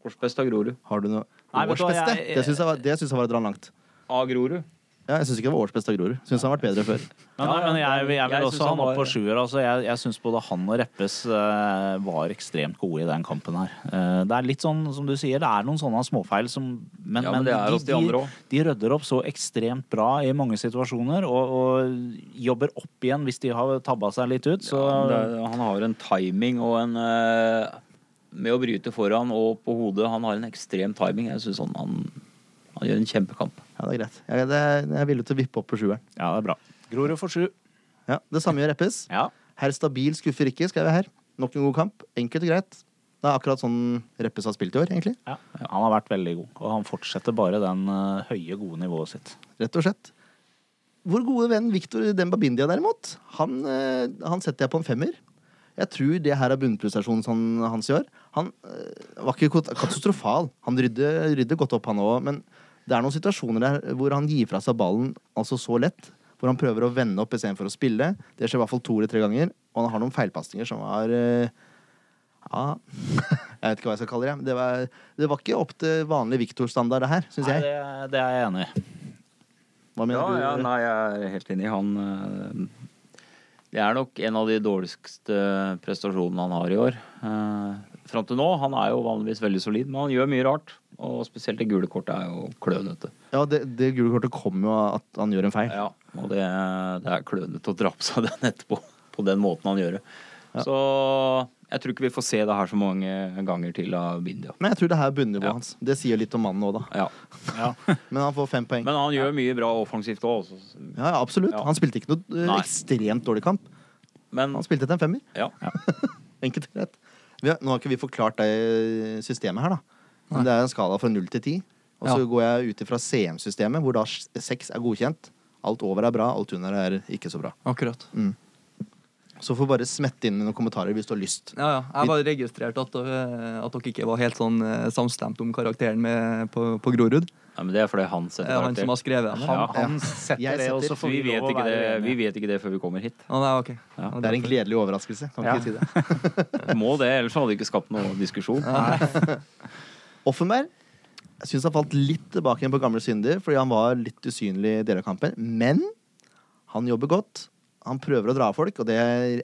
E: Korsbest av Grorud.
A: Har du noe
B: Nei, vet du hva,
A: årsbeste?
B: jeg- eh,
A: Det syns jeg, var- det syns jeg var å dra den langt.
E: Av Grorud.
A: Ja, jeg syns ikke det var årets beste av Grorud. Syns han har vært bedre før.
B: Men, nei,
E: Ja,
B: men jeg, jeg,
E: jeg
B: vil
E: synes
B: også ha
E: han
B: han opp
E: var-
B: på sjuer. Altså. Jeg, jeg syns både han og Reppes eh, var ekstremt gode i den kampen her. Eh, det er litt sånn, som du sier, det er noen sånne småfeil som Men,
E: Ja, men det er hos de andre også.
B: de rydder opp så ekstremt bra i mange situasjoner, og, og jobber opp igjen hvis de har tabba seg litt ut. Så
E: Ja, men det, er- han har en timing og en eh, Med å bryte foran og på hodet. Han har en ekstrem timing. Jeg syns han, han, han gjør en kjempekamp.
A: Ja, det er greit. Jeg, det, jeg er villig til å vippe opp på sjueren.
B: ja, det er bra. Grorud får sju.
A: Ja, det samme gjør Reppes.
B: Ja.
A: Herr Stabil skuffer ikke, skrev jeg her. Nok en god kamp. Enkelt og greit. Det er akkurat sånn Reppes har spilt i år, egentlig.
B: ja. Han har vært veldig god, og han fortsetter bare den eh, høye, gode nivået sitt.
A: Rett og slett. Vår gode venn Victor Dembabindia, derimot, han, eh, han setter jeg på en femmer. Jeg tror det her er bunnprestasjonen han- hans i år. Han eh, var ikke kot- katastrofal. Han rydder, rydder godt opp, han òg, men det er noen situasjoner der hvor han gir fra seg ballen altså så lett. Hvor han prøver å vende opp istedenfor å spille. Det skjer i hvert fall to eller tre ganger. Og han har noen feilpasninger som var eh, Ja, jeg vet ikke hva jeg skal kalle det. men Det var, det var ikke opp til vanlig Victor-standard, det her, syns
B: Nei,
A: jeg.
B: det, det er jeg enig i.
A: Hva mener
E: Ja,
A: du?
E: ja, nei, jeg er helt enig. Han eh, Det er nok en av de dårligste prestasjonene han har i år. Eh, Fram til nå. Han er jo vanligvis veldig solid, men han gjør mye rart. Og spesielt det gule kortet er jo klønete.
A: Ja, det, det gule kortet kom jo av at han gjør en feil.
E: Ja, og det, det er klønete å dra på seg den etterpå. På den måten han gjør det. Så jeg tror ikke vi får se det her så mange ganger til av Bindia.
A: Men jeg tror det her er bunnivået
E: Ja.
A: hans. Det sier litt om mannen òg, da.
E: Ja.
A: Men han får fem poeng.
E: Men han gjør mye bra offensivt òg.
A: ja, ja, absolutt.
E: Ja.
A: Han spilte ikke noe eh,
E: Nei. Mm.
A: ekstremt dårlig kamp.
E: Men
A: Han spilte til en femmer.
E: ja.
A: Enkelt og greit. Vi har, nå har ikke vi forklart det systemet her, da. Men det er en skala fra null til ti. Og så
C: Ja.
A: går jeg ut ifra CM-systemet, hvor da s- seks er godkjent. Alt over er bra, alt under er ikke så bra.
C: Akkurat.
A: Så får bare smette inn med noen kommentarer hvis du har lyst.
C: Ja, ja. Jeg bare registrerte at, øh, at dere ikke var helt sånn øh, samstemt om karakteren med, på, på Grorud.
E: Nei, men det er fordi han
C: Det
E: setter
C: er han
E: karakter.
C: som har skrevet den.
B: Han,
E: Ja.
B: han setter
A: Jeg
B: det, og
A: setter.
B: så får
E: vi,
B: vi,
E: vet
B: lov å
E: ikke
B: være
E: det,
B: uenige.
E: vi vet ikke det før vi kommer hit.
C: Å, nei, ok. Ja,
A: Det er en gledelig overraskelse. Kan ikke
B: Ja.
A: si det.
E: Vi må det, ellers hadde det ikke skapt noe diskusjon.
A: Offenberg jeg synes han falt litt tilbake igjen på gamle synder, fordi han var litt usynlig i deler av kampen. Men han jobber godt. Han prøver å dra av folk, og det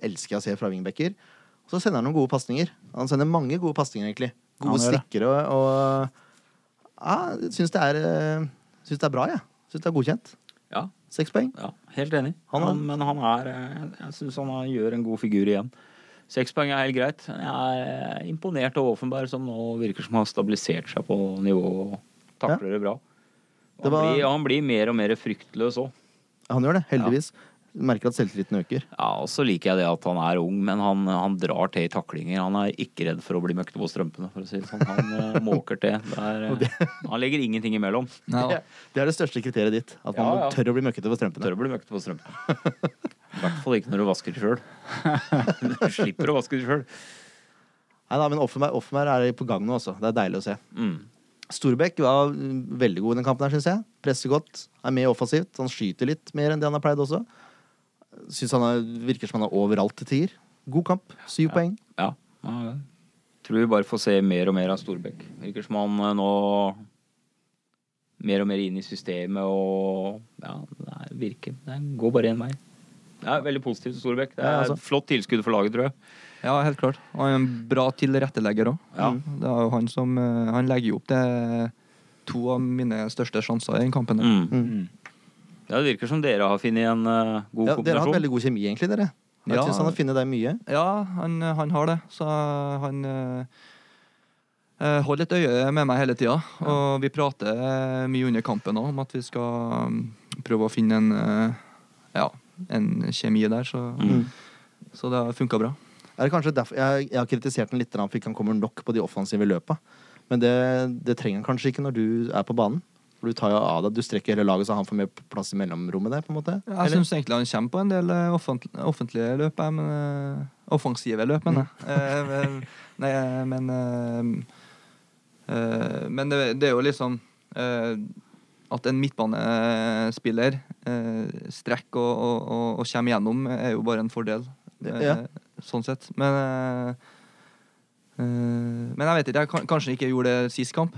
A: elsker jeg å se fra wingbacker. Og så sender han noen gode pasninger. Han sender mange gode pasninger, egentlig. Gode
B: Han gjør det.
A: stikkere og, og Ja, jeg syns det er eh, Syns det er bra, jeg. Ja. Syns det er godkjent.
E: Ja,
A: Seks poeng.
E: ja helt enig.
A: Han er-
E: Han, men han er eh, Jeg syns han er- gjør en god figur igjen. Seks poeng er helt greit. Jeg er imponert over Offenberg, som nå virker som har stabilisert seg på nivå og takler det bra.
A: Det
E: Han,
A: var-
E: blir, han blir mer og mer fryktløs òg.
A: Han gjør det, heldigvis. Merker at selvtilliten øker.
E: Ja, og så liker jeg det at han er ung, men han, han drar til i taklinger. Han er ikke redd for å bli møkket på strømpene, for å si det sånn. Han eh, måker til. Det er, eh, han legger ingenting imellom.
C: Nei,
A: Det,
C: da.
A: det er det største kriteriet ditt. At man
E: Ja, ja.
A: tør å bli møkkete for strømpene.
E: Tør å bli møkket på strømpene. I hvert fall ikke når du vasker det sjøl. Du slipper å vaske det sjøl.
A: Nei da, men Offenberg, Offenberg er på gang nå, altså. Det er deilig å se.
E: Mm.
A: Storbekk var veldig god i den kampen, her, syns jeg. Presser godt, er med offensivt. Han skyter litt mer enn det han har pleid også. Syns han er, virker som han er overalt til tier. God kamp. Syv poeng.
E: Ja. ja. Tror vi bare får se mer og mer av Storbekk. Virker som han eh, nå mer og mer inn i systemet og Ja, det er- virker Det går bare én vei. Det er veldig positivt til Storbekk. Det
A: Ja,
E: er
A: altså.
E: et flott tilskudd for laget, tror jeg.
C: ja, helt klart. Han er en bra tilrettelegger òg.
E: Ja.
C: Det er jo han som øh, Han legger jo opp til to av mine største sjanser i den kampen. her.
E: Mm. Ja, det virker som dere har funnet en eh, god
A: Ja, dere har hatt
E: kombinasjon.
A: veldig god kjemi, egentlig, dere. Jeg
C: Ja.
A: syns han har funnet deg mye.
C: Ja, han, han har det. Så han eh, eh, holder et øye med meg hele tida. Og vi prater eh, mye under kampen også om at vi skal mm, prøve å finne en, eh, ja, en kjemi der. Så,
E: Mm.
C: så det har funka bra.
A: Er det kanskje derfor, jeg, jeg har kritisert han litt grann for ikke han kommer nok på de offensive løpa. Men det, det trenger han kanskje ikke når du er på banen. For du tar jo av deg, du strekker hele laget så han får mer plass i mellomrommet der. på en måte.
C: Jeg
A: Eller?
C: syns egentlig han kommer på en del eh, offent- offentlige løp, jeg, men eh, Offensive løp,
A: Mm.
C: mener jeg. Eh, eh, Nei, eh, men eh, eh, Men det, det er jo liksom eh, At en midtbanespiller eh, strekker og, og, og, og kommer gjennom, er jo bare en fordel. eh,
A: Ja.
C: Sånn sett. Men eh, eh, men jeg vet ikke. Jeg kan, kanskje ikke gjorde det sist kamp.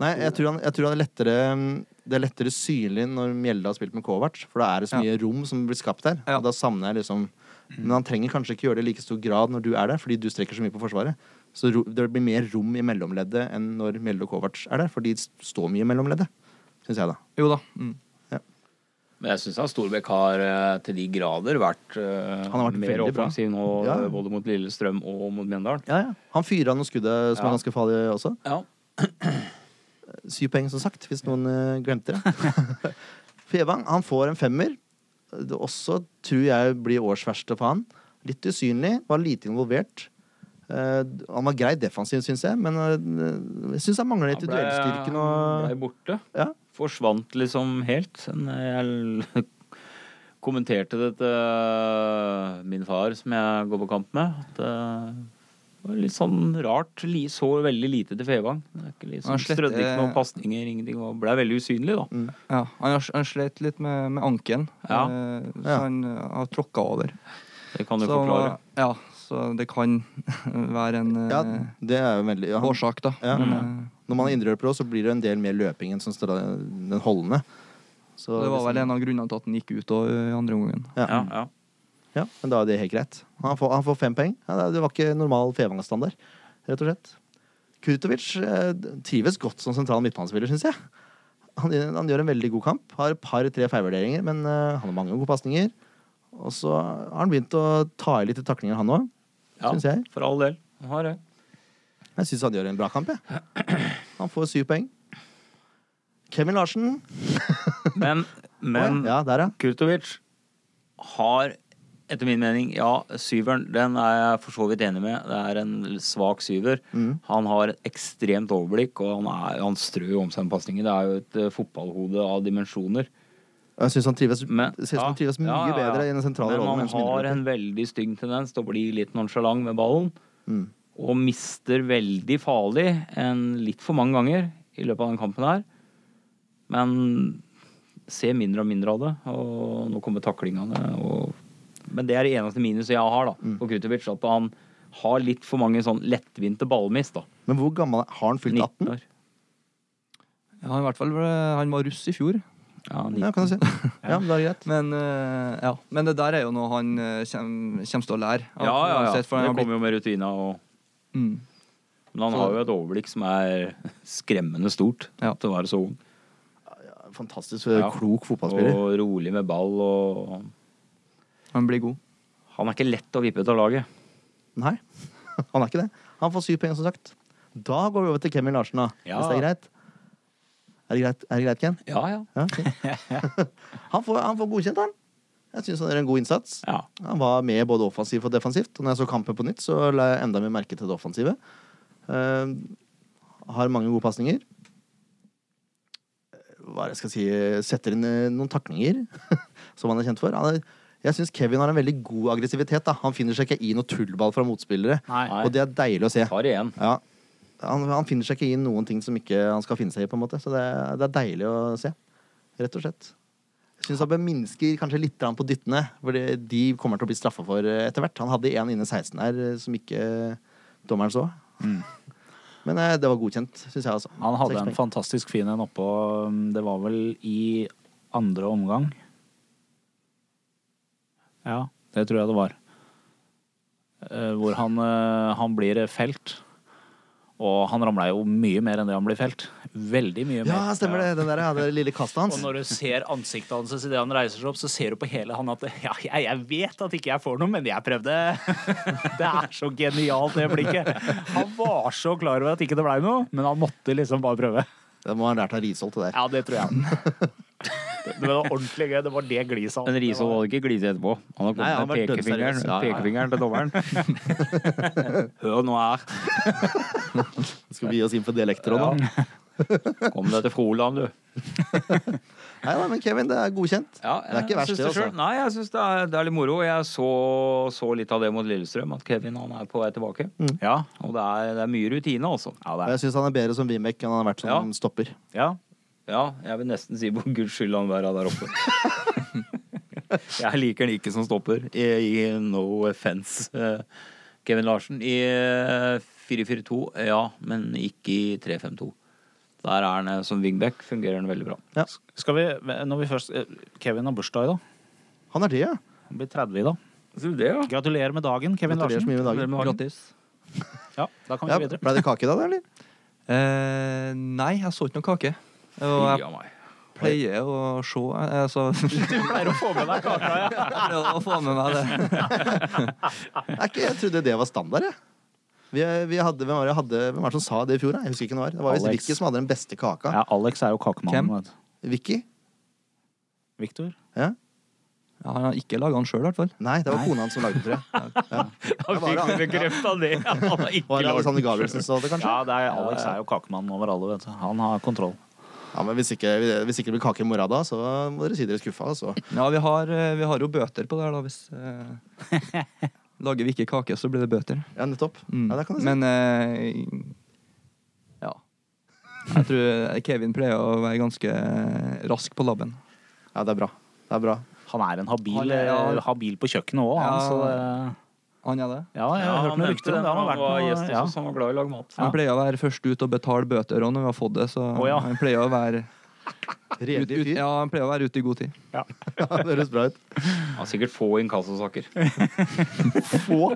A: Nei, jeg tror han, jeg tror han er lettere mm, det er lettere synlig når Mjelde har spilt med Kovac, for da er det så mye rom som blir skapt der.
C: Ja.
A: Og da savner jeg liksom Men han trenger kanskje ikke gjøre det i like stor grad når du er der, fordi du strekker så mye på Forsvaret. Så ro, det blir mer rom i mellomleddet enn når Mjelde og Kovac er der, for de s- står mye i mellomleddet. Syns jeg, da.
C: Jo da. Mm.
E: Men jeg syns Storbekk har eh, til de grader vært, eh,
A: Han har vært
E: mer
A: veldig bra.
E: offensiv nå,
A: Ja.
E: eh, både mot Lillestrøm og mot Mjøndalen.
A: Han fyrer av noen skudd som
E: Ja.
A: er ganske farlige også.
E: Ja.
A: Syv poeng, som sagt, hvis noen eh, glemte det. Fevang han får en femmer. Det også tror jeg blir årsverste for han. Litt usynlig, var lite involvert. Eh, han var grei defensiv, syns jeg, men eh, jeg syns han mangler litt i duellstyrken.
E: ble
A: Og...
E: borte.
A: Ja.
E: Forsvant liksom helt. Men Jeg l- kommenterte det til min far, som jeg går på kamp med. at eh, Det var litt sånn rart. Li- Så veldig lite til Fevang. Det er ikke Liksom,
C: Han slett-
E: strødde ikke noen pasninger, ingenting. Og ble veldig usynlig, da.
A: Mm.
C: Ja, han, har- han slet litt med, med anken,
E: Ja.
C: eh, så
A: Ja.
C: han eh, har tråkka over.
E: Det kan du
C: så,
E: forklare.
C: Ja, så det kan være en eh,
A: Ja, det er jo veldig ja, han-
C: årsak, da.
A: Ja.
C: Men, eh,
A: Når man er indreløper også, så blir det jo en del mer løping enn sånn stra- den holdende. Så
C: det var
A: hvis-
C: vel en av grunnene til at han gikk ut og, i andre omgangen.
A: ja.
E: Ja, ja.
A: Ja, men da er det helt greit. Han får, han får fem poeng. Ja, det var ikke normal Fevang-standard, rett og slett. Kurtovic eh, trives godt som sentral midtbanespiller, syns jeg. Han, han gjør en veldig god kamp. Har et par-tre feilvurderinger, men eh, han har mange gode pasninger. Og så har han begynt å ta i litt i taklinger, han òg.
E: Ja,
A: Syns jeg.
E: For all del. Har det.
A: Jeg syns han gjør en bra kamp, jeg. Han får syv poeng. Kevin Larsen.
E: Men, men
A: Ja, der, ja.
E: Kurtovic har etter min mening, ja, syveren, den er jeg for så vidt enig med. Det er en svak syver.
A: Mm.
E: Han har et ekstremt overblikk, og han, er, han strør jo om seg med pasninger. Det er jo et eh, fotballhode av dimensjoner.
A: Og Jeg syns han trives,
E: Men-
A: ser ut som han
E: ja,
A: trives mye
E: ja, ja, ja.
A: bedre i den sentrale
E: Men
A: rollen.
E: han
A: enn som
E: har
A: indreløper.
E: en veldig stygg tendens til å bli litt nonsjalant med ballen,
A: Mm.
E: og mister veldig farlig en litt for mange ganger i løpet av den kampen her. Men ser mindre og mindre av det, og nå kommer taklingene og Men det er det eneste minuset jeg har da,
A: Mm.
E: på Krutovic, at han har litt for mange sånn lettvinte ballmist, da.
A: Men hvor gammel er Har han fylt 18?
E: 19 år.
C: Ja, han, i hvert fall, ble- han var russ i fjor,
E: Ja, 19.
A: Ja, kan du si. Ja, men da er det greit.
C: men, eh, ja. men det der er jo noe han eh, kjem- kommer til å lære. av,
E: ja, ja. ja.
C: uansett, for han
E: Det
C: har blitt-
E: kommer jo med rutina og
C: mm.
E: Men han
C: Så-
E: har jo et overblikk som er skremmende stort
C: Ja.
E: til å være så ung.
A: Fantastisk
E: Ja.
A: klok fotballspiller.
E: Og rolig med ball og
C: Han blir god.
E: Han er ikke lett å vippe ut av laget.
A: Nei, han er ikke det. Han får syv poeng, som sagt. Da går vi over til Kevin Larsen, da.
E: Ja.
A: Hvis det er greit? Er det greit, er det greit Ken?
E: Ja, ja.
A: Ja, fint. han, får, han får godkjent, han. Jeg syns han gjør en god innsats.
E: Ja.
A: Han var med både offensivt og defensivt. Og når jeg så kampen på nytt, så la jeg enda mer merke til det offensive. Eh, har mange gode pasninger. Eh, Hva er det jeg skal si Setter inn eh, noen taklinger, som han er kjent for. Han er, jeg syns Kevin har en veldig god aggressivitet. Da. Han finner seg ikke i noe tullball fra motspillere,
B: Nei.
A: og det er deilig å se.
E: Tar igjen.
A: Ja. Han, han finner seg ikke i noen ting som ikke han skal finne seg i, på en måte. Så det, er- det er deilig å se. Rett og slett. Jeg syns han bør minske kanskje litt grann på dyttene, for det- de kommer til å bli straffa for eh, etter hvert. Han hadde en inne 16 her eh, som ikke eh, dommeren så. Men eh, det var godkjent, syns jeg, altså.
B: Mm. Han hadde
A: Seks
B: en
A: poeng.
B: fantastisk fin en oppå um, Det var vel i andre omgang. Ja, det tror jeg det var. Eh, Hvor han, eh, han blir felt. Og han ramla jo mye mer enn det han blir felt. Veldig mye mer.
A: Ja, stemmer det. Den der, ja, det lille kastet hans.
B: Og når du ser ansiktet hans idet han reiser seg opp, så ser du på hele han at Ja, jeg, jeg vet at ikke jeg får noe, men jeg prøvde. Det er så genialt, det blikket. Han var så klar over at ikke det blei noe, men han måtte liksom bare prøve.
A: Det må ha lært av Risholt, det der.
B: Ja, det tror jeg. Det det var ordentlig gøy. Det var det gliset
E: Men Rishold hadde ikke glidd etterpå. Han har
A: Nei, han
E: kommet med
A: var
E: pekefingeren,
A: dødseriøs. Ja, ja, ja.
E: pekefingeren til dommeren. Hør nå her.
A: Skal vi gi oss inn på dialekter òg, da?
E: Kom deg til Froland, du.
A: Nei da, men Kevin, det er godkjent.
E: Ja,
A: det er ikke
E: jeg
A: verst,
E: syns
A: det,
E: det selv.
A: altså.
E: Nei, jeg syns det, er- det er litt moro. Jeg så, så litt av det mot Lillestrøm, at Kevin han er på vei tilbake.
A: Mm.
B: Ja.
E: Og det er, det er mye rutine, altså.
B: Ja,
A: Og
B: det er.
A: Jeg syns han er bedre som Wimek enn han har vært som
E: Ja.
A: stopper.
B: ja.
E: Ja, jeg vil nesten si på guds skyld han være der oppe. jeg liker den ikke som stopper. I, i no offense, eh, Kevin Larsen. I eh, 4-4-2, ja, men ikke i 3-5-2. Der er han eh, som wingback fungerer han veldig bra.
B: Skal vi, når vi først eh, Kevin har bursdag i dag.
A: Han er det, ja.
B: Han blir 30 i dag.
E: Tror du det, ja?
B: Gratulerer med dagen, Kevin
A: Gratulerer så
B: Larsen.
A: mye med dagen.
C: Grattis.
B: Ja, da kan vi
A: Ja,
B: gå videre.
A: Ble det kake da, da, eller?
C: Eh, nei, jeg så ikke noe kake.
B: eh,
C: Og
E: Fy
C: jeg
E: a meg.
C: pleier å se eh, altså,
B: Du pleier å få med deg kaka, ja.
C: Prøver å få med meg det.
A: Er ikke, jeg trodde det var standard, jeg. Vi, vi hadde, hvem, var det, jeg hadde, hvem var det som sa det i fjor? da? Jeg husker ikke hvem det var. Det var visst
B: Alex.
A: Vicky som hadde den beste kaka.
B: ja. Alex er jo kakemannen.
C: Hvem?
B: vet du.
A: Vicky?
B: Victor.
A: Ja.
C: Ja, han har ikke laga den sjøl, i hvert fall.
A: Nei, det var
B: Nei.
A: kona hans som lagde den, tror jeg.
E: Da fikk vi bekrefta det. Han har ikke
A: Var det
E: lagd
A: Alexander Gabrielsen som sa det, kanskje?
B: Ja, det er, Alex er jo kakemannen over alle, vet du. Han har kontroll.
A: Ja, men Hvis ikke, hvis ikke det blir kake i morgen da, så må dere si dere er skuffa. Altså.
C: Ja, vi har, eh, vi har jo bøter på det her, da, hvis eh, Lager vi ikke kake, så blir det bøter.
A: Ja, nettopp.
C: Mm.
A: Ja, det kan du si.
C: Men eh, ja. Jeg tror eh, Kevin pleier å være ganske eh, rask på labben.
A: Ja, det er bra. Det er bra.
B: Han er en habil,
C: Han er- ja.
B: eh, habil på kjøkkenet òg, han.
C: Ja.
B: Så, eh,
C: Han er det.
B: ja, jeg har hørt noen rykter om det. Han har vært
E: var
B: noe-
E: gjest hos
B: ja.
E: oss, han var glad i å lage mat.
B: Ja.
C: Han pleier å være først ut og betale bøter òg når vi har fått det, så
B: Å, ja.
C: han pleier å være ut,
A: Redelig
C: ut,
A: fyr.
C: ja, han pleier å være ute i god tid.
A: Ja, det høres bra ut.
E: Han har sikkert få inkassosaker.
A: Få.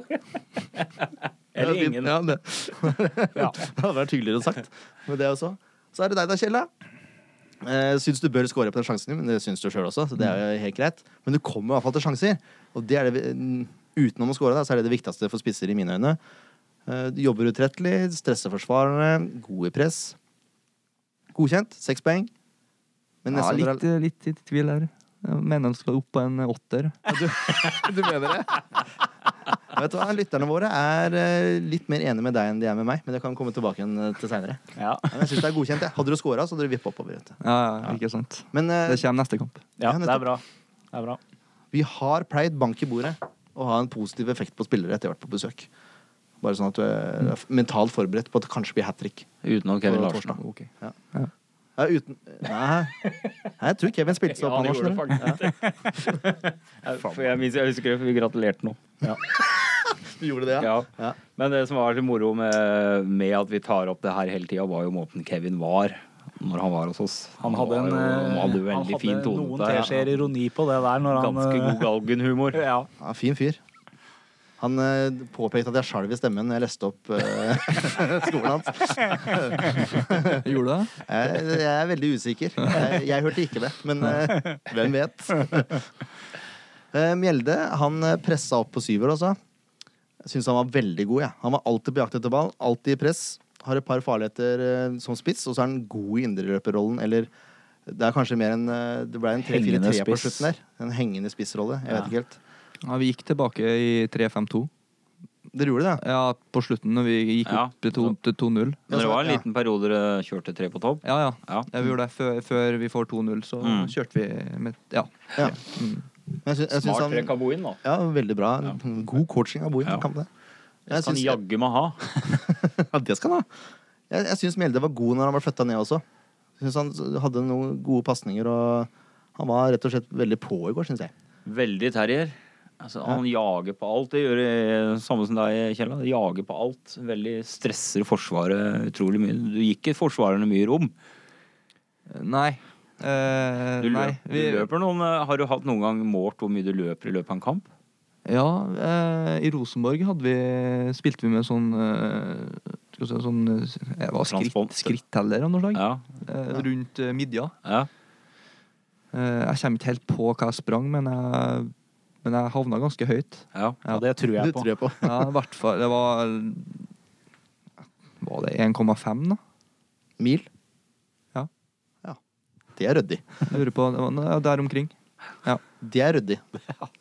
E: Eller
A: Ja, fint.
E: ingen.
A: Ja, det. det hadde vært hyggeligere sagt. Men det også. Så er det deg da, Kjell. da. Eh, syns du bør score på den sjansen, men det syns du sjøl også. Så det er jo helt greit. Men du kommer i hvert fall til sjanser. Og det er det, vi- utenom å score, da, så er det det viktigste for spisser i mine øyne. Eh, du jobber utrettelig, stresser forsvarerne, god i press. Godkjent. Seks poeng. Men
C: Ja,
A: nesten
C: litt, eh, litt i tvil her. Jeg mener han skal opp på en åtter.
A: Du mener det? Vet du hva, Lytterne våre er eh, litt mer enige med deg enn de er med meg. Men det kan vi komme tilbake igjen eh, til seinere.
B: Ja.
A: Men jeg synes det er godkjent. Jeg. Hadde du scora, så hadde du vippa oppover. Vet du.
C: Ja, ja, ikke sant.
A: Men eh,
C: Det kommer neste kamp.
B: ja,
A: Ja,
B: det
A: nettopp.
B: er bra. Det er bra.
A: vi har pleid bank i bordet å ha en positiv effekt på spillere etter hvert på besøk. Bare sånn at du er er mentalt forberedt på at det kanskje blir hat trick.
E: Utenom Kevin Larsen. da.
A: Okay. Ja. Ja, uten... Nei. Nei, jeg tror Kevin spilte seg
E: Ja,
A: opp. han
E: han gjorde det
A: også,
E: faktisk. Jeg- For jeg, minst, jeg husker vi gratulerte nå.
A: eller? Du gjorde det, ja.
E: Ja.
A: Ja.
E: Men det som var så moro med, med at vi tar opp det her hele tida, var jo måten Kevin var når han var hos oss.
B: Han hadde en
E: var jo-
B: eh,
E: han hadde jo
B: han
E: veldig
B: hadde
E: fin tone.
B: noen
E: der, ja.
B: teskjeer ironi på det der når han eh,
E: Ganske god galgenhumor.
B: Ja.
A: Ja, fin fyr. Han eh, påpekte at jeg skalv i stemmen når jeg leste opp eh, skolen hans.
C: Gjorde du det?
A: Jeg, jeg er veldig usikker. Jeg, jeg hørte ikke det, men eh, hvem vet? Eh, Mjelde han eh, pressa opp på syver også. Jeg syns han var veldig god. Ja. Han var alltid på jakt etter ball, alltid i press. Har et par farligheter eh, som spiss, og så er han god i indreløperrollen, eller det er kanskje mer en eh, Det ble en
B: Hengende
A: 3-4-3 på
B: spiss.
A: slutten der. En hengende spissrolle. Jeg
B: Ja.
A: vet ikke helt.
C: Ja, vi gikk tilbake i 3-5-2.
A: Dere gjorde det, ja?
C: Ja, på slutten når vi gikk
E: Ja.
C: opp til to- til 2-0.
E: Men det var en
A: Ja.
E: liten periode dere kjørte tre på topp.
C: Ja, ja.
E: Ja.
C: ja vi gjorde det før, før vi får 2-0, så
E: Mm.
C: kjørte vi med Ja.
A: ja. Mm. Men Jeg syns, jeg syns
E: Smart
A: han
E: trekk av Bohin, da.
A: Ja, veldig bra. God coaching av Bohin.
E: Ja.
A: Ja. Kan det.
E: Jeg
A: Jeg
E: kan
A: syns,
E: jaggu meg ha.
A: ja, det skal han ha. Jeg, jeg syns Mjelde var god når han ble flytta ned også. Jeg syns han hadde noen gode pasninger, og han var rett og slett veldig på i går, syns jeg.
E: Veldig terrier. Altså, han jager på alt. Det gjør det samme som deg, Kjell. Han Jager på alt. Veldig stresser Forsvaret utrolig mye. Du gir ikke forsvarerne mye rom.
C: Nei. Eh,
E: Du, løp,
C: nei. Vi,
E: du løper noen eh, Har du hatt noen gang målt hvor mye du løper i løpet av en kamp?
C: ja, eh, i Rosenborg hadde vi Spilte vi med sånn eh, Skal vi si sånn eh, det var
E: Transpon-
C: skritt, skritteller av noe slag.
E: Ja.
C: Eh, rundt eh, midja.
E: ja.
C: Eh, jeg kommer ikke helt på hva jeg sprang, men jeg, men jeg havna ganske høyt.
E: ja.
C: Ja.
B: Og det tror jeg
A: Det
B: på.
A: tror jeg på.
C: Ja, i hvert fall Det var Var det 1,5, da?
A: Mil.
C: Ja.
A: Ja. Det er ryddig.
C: Jeg lurer på det var, ja, Der omkring.
A: Det er ryddig.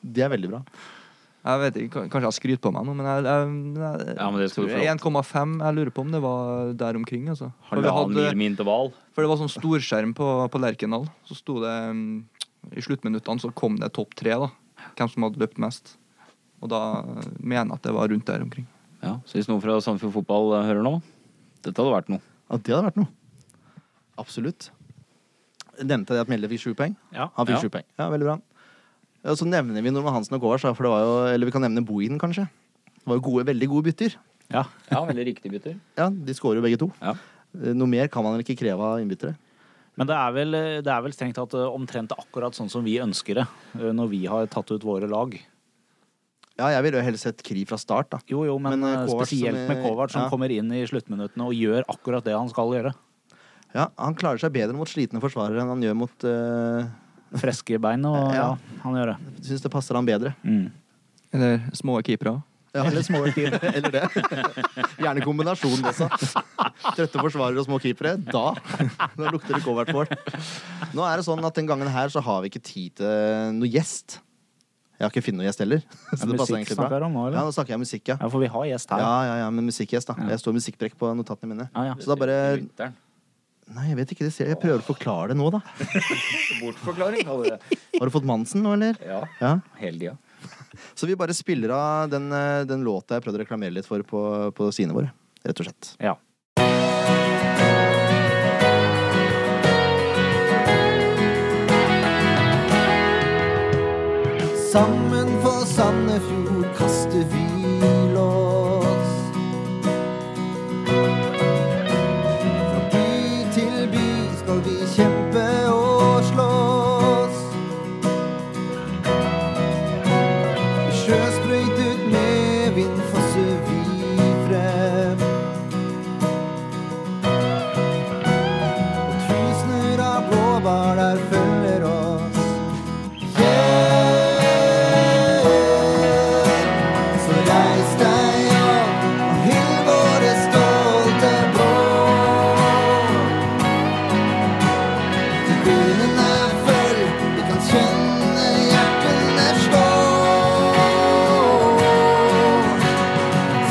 A: Det er veldig bra.
C: Jeg vet ikke, kan- Kanskje jeg skryter på meg nå, men jeg, jeg, jeg
E: Ja, men det skal du
C: tror
E: få lov til.
C: 1,5 Jeg lurer på om det var der omkring, altså. For, vi
E: Halvannen mil
C: hadde,
E: med intervall.
C: for det var sånn storskjerm på, på Lerkendal. Så sto det mm, I sluttminuttene så kom det topp tre, da. Hvem som hadde løpt mest. Og da mener jeg at det var rundt der omkring.
E: Ja. Så hvis noen fra Sandefjord Fotball eh, hører nå, dette hadde vært noe.
A: Ja, det hadde vært noe. Absolutt. Nevnte jeg at Mjelde fikk sju poeng?
B: Ja.
A: Han fikk
E: Ja.
A: sju poeng. Ja, veldig bra. Ja, så nevner vi Norman Hansen og Kovac, da, for det var jo Eller vi kan nevne Bohin, kanskje. Det var jo gode, veldig gode bytter.
B: Ja.
E: Ja, veldig riktig bytter.
A: Ja, de skårer jo begge to.
E: Ja.
A: Eh, Noe mer kan man vel ikke kreve av innbyttere?
B: Men det er vel, det er vel strengt tatt eh, omtrent akkurat sånn som vi ønsker det, eh, når vi har tatt ut våre lag.
A: Ja, jeg ville jo helst sett Kri fra start, da.
B: Jo, jo, men,
A: Men, eh,
B: eh,
A: Kovac som
B: spesielt
A: er-
B: med Kovac som
A: ja.
B: kommer inn i sluttminuttene og gjør akkurat det han skal gjøre.
A: Ja, Han klarer seg bedre mot slitne forsvarere enn han gjør mot uh,
B: Freske bein og ja,
A: Ja.
B: han gjør det.
A: Syns det passer han bedre.
B: Mm.
C: Eller små keepere.
A: Ja. Eller små keepere. Eller det. Gjerne kombinasjonen også. Trøtte forsvarere og små keepere. Da, da lukter det covert-mål. Nå er det sånn at den gangen her så har vi ikke tid til noe gjest. Jeg har ikke funnet noe gjest heller. Så
B: Er
A: det passer
B: musikk
A: egentlig
B: snakker
A: bra.
B: om nå,
A: Ja,
B: eller?
A: nå snakker jeg musikk, ja.
B: Ja, for vi har gjest her.
A: Ja, ja, ja, men musikkgjest, da. Jeg står musikkbrekk på notatene mine.
B: Ja, ja.
A: Så da bare
E: Lytteren.
A: Nei, jeg vet ikke. Det ser jeg. jeg prøver å forklare det nå, da.
E: Bortforklaring kaller det.
A: Har du fått Mansen nå, eller?
E: Ja,
A: Ja.
E: hele tida.
A: Så vi bare spiller av den, eh, den låta jeg prøvde å reklamere litt for på, på sidene våre. Rett og slett.
B: Ja.
F: Sammen for Sandefjord kaster vi lås. Fra by til by skal vi kjempe og slåss. I sjøsprøytet med vind fosser vi frem. Og tusener av blåbær der følger oss. Så reis deg opp og hyll våre stolte blå. Tribunen er full, vi kan kjenne hjertene slå.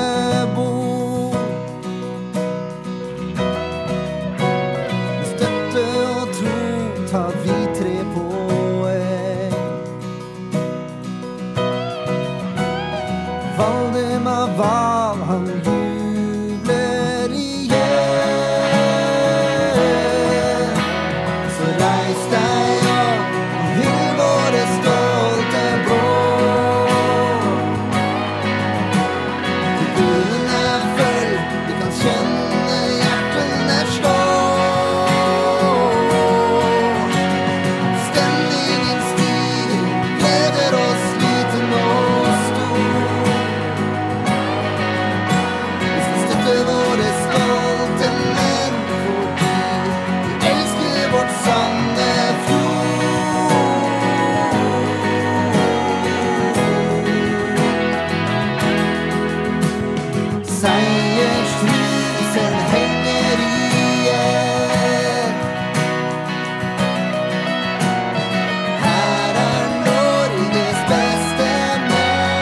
F: bor. Støtte og tro tar vi tre på en. Valdemar Wahl, han jubler igjen. Så reis deg opp og hyll våre stolte blå. Tribunen er full, vi kan kjenne hjertene slå. Stemningen stiger, gleder oss liten og stor. Vi skal støtte våre stolte menn fordi vi elsker vårt sanne fjord. Seiersrusen henger igjen. Her er Norges beste menn.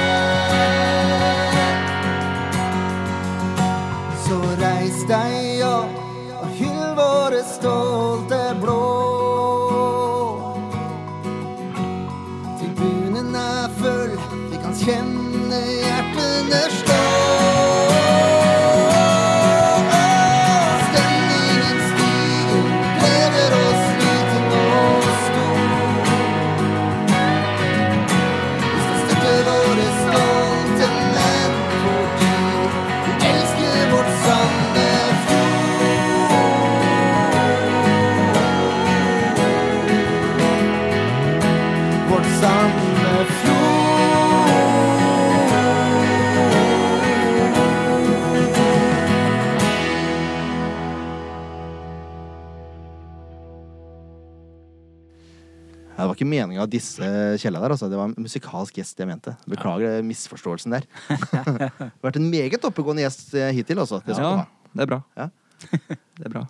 F: Så reis deg opp og hyll våre stolte blå. Tribunen er full, vi kan kjenne hjertene slå. Stemningen stiger, gleder oss liten og stor. Vi skal støtte våre stolte menn fordi vi elsker vårt sanne fjord. vårt sanne
A: Ja, Det var ikke meninga å disse Kjella der, altså. Det var en musikalsk gjest jeg mente. Beklager eh, misforståelsen der. det har vært en meget oppegående gjest eh, hittil, altså. Det skal du
C: Ja,
A: ha.
C: det er bra.
A: Ja.
C: Det er bra.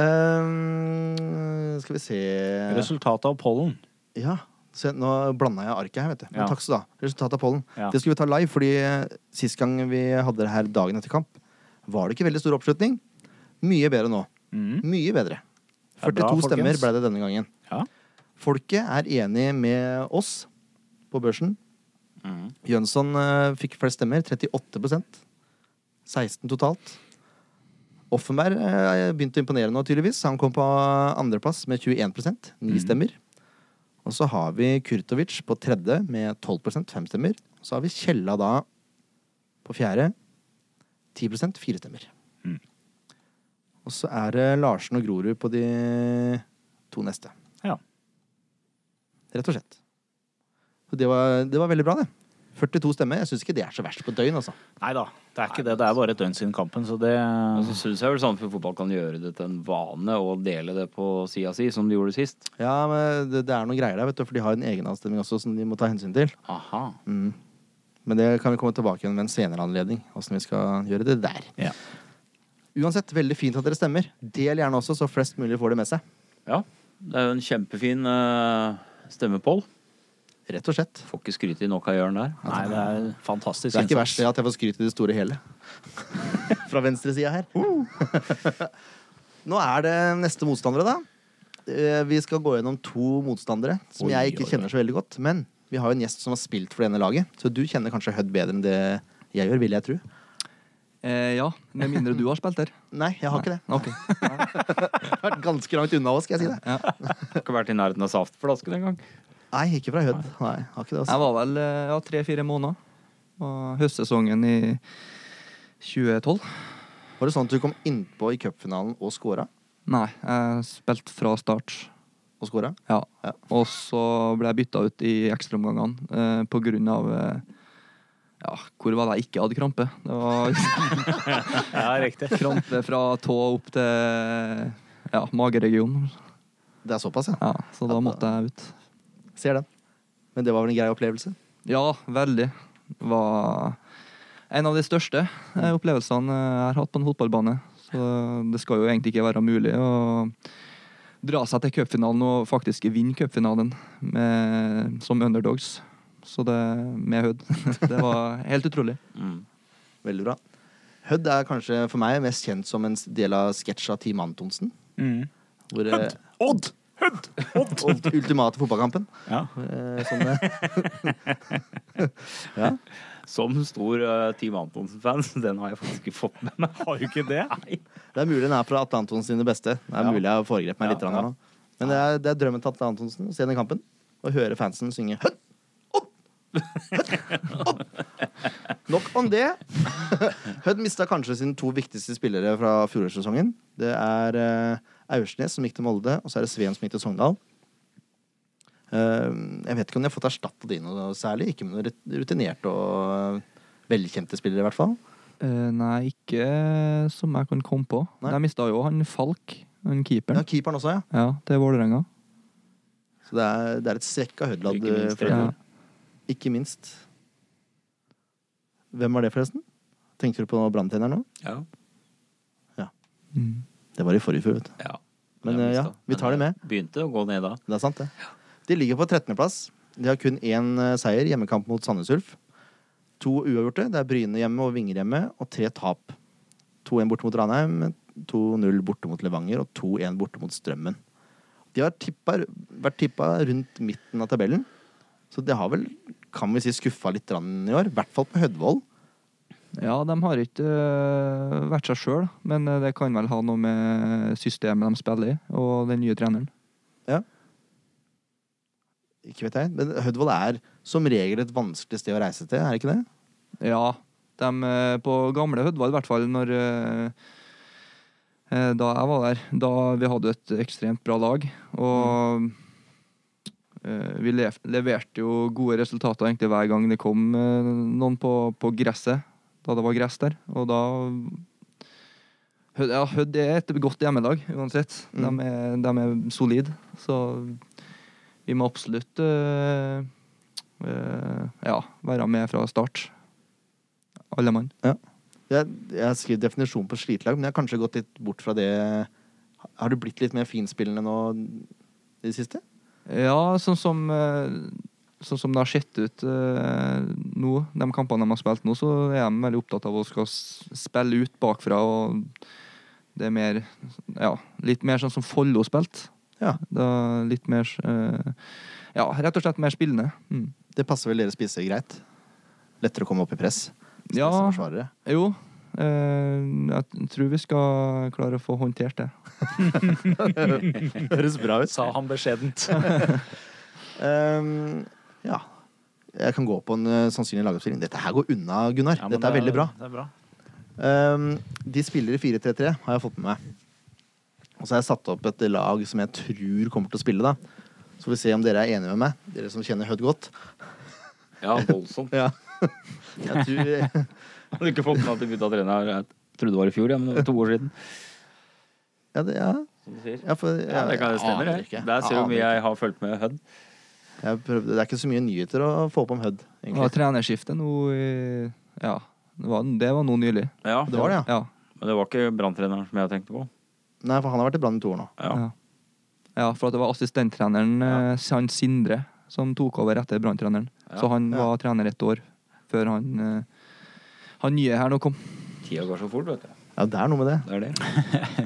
A: Ehm, skal vi se
B: Resultatet av pollen.
A: Ja, Se, nå blanda jeg arket her, vet du. Men
B: Ja.
A: takk skal du ha. Resultatet av pollen.
B: Ja.
A: Det skulle vi ta live, fordi eh, sist gang vi hadde det her dagen etter kamp, var det ikke veldig stor oppslutning. Mye bedre nå.
B: Mhm.
A: Mye bedre.
B: Det er
A: 42
B: bra, folkens.
A: stemmer ble det denne gangen.
B: Ja.
A: Folket er enig med oss på børsen. Jønsson eh, fikk flest stemmer, 38 16 totalt. Offenberg eh, begynte å imponere nå, tydeligvis. Han kom på andreplass med 21 ni stemmer. Og så har vi Kurtovic på tredje med 12 fem stemmer. Så har vi Kjella da på fjerde, 10 fire stemmer.
B: Mhm.
A: Og så er det Larsen og Grorud på de to neste.
B: Ja.
A: Rett og slett. Så det var, det var veldig bra, det. 42 stemmer. Jeg syns ikke det er så verst på et døgn, altså.
B: Nei da, det er ikke det. Det er bare et døgn siden kampen, så det
E: Og så syns jeg vel Sandefjord Fotball kan gjøre det til en vane å dele det på sida si, som de gjorde sist.
A: Ja, men det, det er noen greier der, vet du, for de har en egenavstemning også som de må ta hensyn til.
E: Aha.
A: Mm. Men det kan vi komme tilbake igjen med en senere anledning, åssen vi skal gjøre det der.
B: Ja.
A: Uansett, veldig fint at dere stemmer. Del gjerne også, så flest mulig får det med seg.
E: Ja. Det er jo en kjempefin eh, stemmepoll.
A: Rett og slett.
E: Får ikke skryte i nok av Jørn der.
B: Nei, det er fantastisk.
A: Det er ikke
B: innsats.
A: verst det at jeg får skryt i det store hele. Fra venstresida her. Nå er det neste motstandere, da. Eh, Vi skal gå gjennom to motstandere som
B: Oi,
A: jeg ikke
B: oi,
A: kjenner så veldig godt. Men vi har jo en gjest som har spilt for det ene laget, så du kjenner kanskje Hødd bedre enn det jeg gjør, vil jeg tro.
C: Eh, ja, med mindre du har spilt der.
A: Nei, jeg har ikke det.
C: Ok.
A: Jeg har vært ganske langt unna òg, skal jeg si det.
E: Har ikke vært i nærheten av saftflasken engang.
A: Nei, ikke fra Hødd. Nei, jeg har ikke det.
C: Jeg
A: Altså.
C: var vel eh, ja, tre-fire måneder. Og høstsesongen i 2012.
A: Var det sånn at du kom innpå i cupfinalen og scora?
C: Nei, jeg spilte fra start.
A: Og scora?
C: Ja.
A: Ja.
C: Og så ble jeg bytta ut i ekstraomgangene eh, på grunn av eh, ja, hvor var det jeg ikke hadde krampe? Det var
B: Ja, riktig.
C: krampe fra tå opp til ja, mageregionen.
A: Det er såpass, ja.
C: Ja, så da måtte jeg ut.
A: Ser den. Men det var vel en grei opplevelse?
C: Ja, veldig. Var en av de største eh, opplevelsene jeg har hatt på en fotballbane. Så det skal jo egentlig ikke være mulig å dra seg til cupfinalen og faktisk vinne cupfinalen med- som underdogs. Så det med Hødd. Det var helt utrolig.
E: Mm.
A: Veldig bra. Hødd er kanskje for meg mest kjent som en del av sketsja Team Antonsen.
B: Mhm.
A: Hvor, eh,
B: Odd! Hødd! Odd!
A: og ultimate fotballkampen.
B: Ja.
A: Eh, Sånn, eh,
E: Som stor eh, Team Antonsen-fans, den har jeg faktisk ikke fått med meg.
B: Har jo ikke det.
A: det er mulig den er fra Atle Antonsen sine beste. Det er mulig jeg foregrep meg litt
B: Ja,
A: grann her nå. Men det er, det er drømmen til Atle Antonsen å se den kampen og høre fansen synge Hødd! Opp! Hødd! Opp! Nok om det. Hødd mista kanskje sine to viktigste spillere fra fjorårssesongen. Det er eh, Aursnes som gikk til Molde, og så er det Sveen som gikk til Sogndal. Eh, jeg vet ikke om de har fått erstatta de noe særlig. Ikke med noen rut- rutinerte og eh, velkjente spillere, i hvert fall.
C: Eh, Nei, ikke som jeg kan komme på.
A: Nei.
C: Jeg mista jo han Falk, han
A: Ja,
C: keeperen,
A: keeperen også, ja.
C: ja, til Vålerenga.
A: Så det er, det er et svekka Hødland.
E: Ikke minst,
A: Ikke,
C: Ja.
A: ikke minst. Hvem var det, forresten? Tenkte du på branntenneren nå?
E: Ja.
C: Mm.
A: Det var i forrige fjor, vet du.
E: Ja.
A: Men
E: Det er
A: eh, ja,
E: visst da.
A: vi tar det
E: Men
A: med.
E: det Begynte å gå ned da.
A: Det er sant, det. De ligger på 13.-plass. De har kun én eh, seier, hjemmekamp mot Sandnes Ulf. To uavgjorte. Det er Bryne hjemme og Vinger hjemme, og tre tap. 2-1 borte mot Ranheim, 2-0 borte mot Levanger og 2-1 borte mot Strømmen. De har tippa, vært tippa rundt midten av tabellen, så det har vel, kan vi si, skuffa litt grann i år. I hvert fall på Hødvoll.
C: Ja, de har ikke øh, vært seg sjøl, men øh, det kan vel ha noe med systemet de spiller i, og den nye treneren.
A: Ikke vet jeg. Men Hødvoll er som regel et vanskelig sted å reise til, er det ikke det?
C: Ja, de øh, på gamle Hødvald, i hvert fall når øh, øh, Da jeg var der, da vi hadde et ekstremt bra lag, og øh, vi lev- leverte jo gode resultater egentlig hver gang det kom øh, noen på, på gresset, da det var gress der, og da Hødd ja, Hødd er et godt hjemmelag uansett.
A: Mm.
C: De, er, de er solide. Så vi må absolutt øh, øh, ja, være med fra start. Alle mann.
A: Jeg, jeg har skrevet definisjon på slitlag, men jeg har kanskje gått litt bort fra det. Har du blitt litt mer finspillende nå i det siste?
C: Ja, sånn som eh, Sånn som det har sett ut eh, nå, de kampene de har spilt nå, så er de veldig opptatt av å skal s- spille ut bakfra. og Det er mer Ja, litt mer sånn som Follo spilte.
A: Ja.
C: Da Litt mer eh, Ja, rett og slett mer spillende. Mm.
A: Det passer vel dere spisser greit? Lettere å komme opp i press? Spisse
C: Ja.
A: forsvarere.
C: Jo. eh, jeg tror vi skal klare å få håndtert det.
A: Høres bra ut.
B: Sa han beskjedent.
A: Ehm, ja. Jeg kan gå på en eh, sannsynlig lagoppstilling. Dette her går unna, Gunnar.
B: Ja, men
A: Dette er
B: det
A: veldig bra.
B: Det er bra.
A: Ehm, de spiller i 4-3-3, har jeg fått med meg. Og så har jeg satt opp et lag som jeg tror kommer til å spille, da. Så får vi se om dere er enige med meg, dere som kjenner Hødd godt.
E: Ja, voldsomt.
A: Ja. Jeg tror,
E: Har du ikke fått med at de bytta trener? Jeg trodde det var i fjor, ja, men det var to år siden.
A: ja, det, ja.
E: Som du sier.
A: Ja, for, jeg,
E: Ja, det kan det stemmer,
A: aner
E: det. Der ser du
A: Jeg
E: hvor mye
A: aner
E: jeg har fulgt med Hødd.
A: ikke. jeg prøvde, Det er ikke så mye nyheter å få opp om Hødd,
C: Det var
A: egentlig.
C: trenerskifte nå i Ja, det var, det var nå nylig.
E: Ja,
A: Det var det, ja.
C: Ja.
E: Men det var ikke branntreneren som jeg tenkte på.
A: Nei, for han har vært i Brann i to år nå.
E: Ja.
C: Ja. ja, for at det var assistenttreneren eh, han Sindre som tok over etter branntreneren.
E: Ja.
C: Så han
A: Ja.
C: var trener et år før han eh, han nye her nå kom.
E: Tida går så fort, vet du.
A: Ja, det er noe med det.
E: Det er det.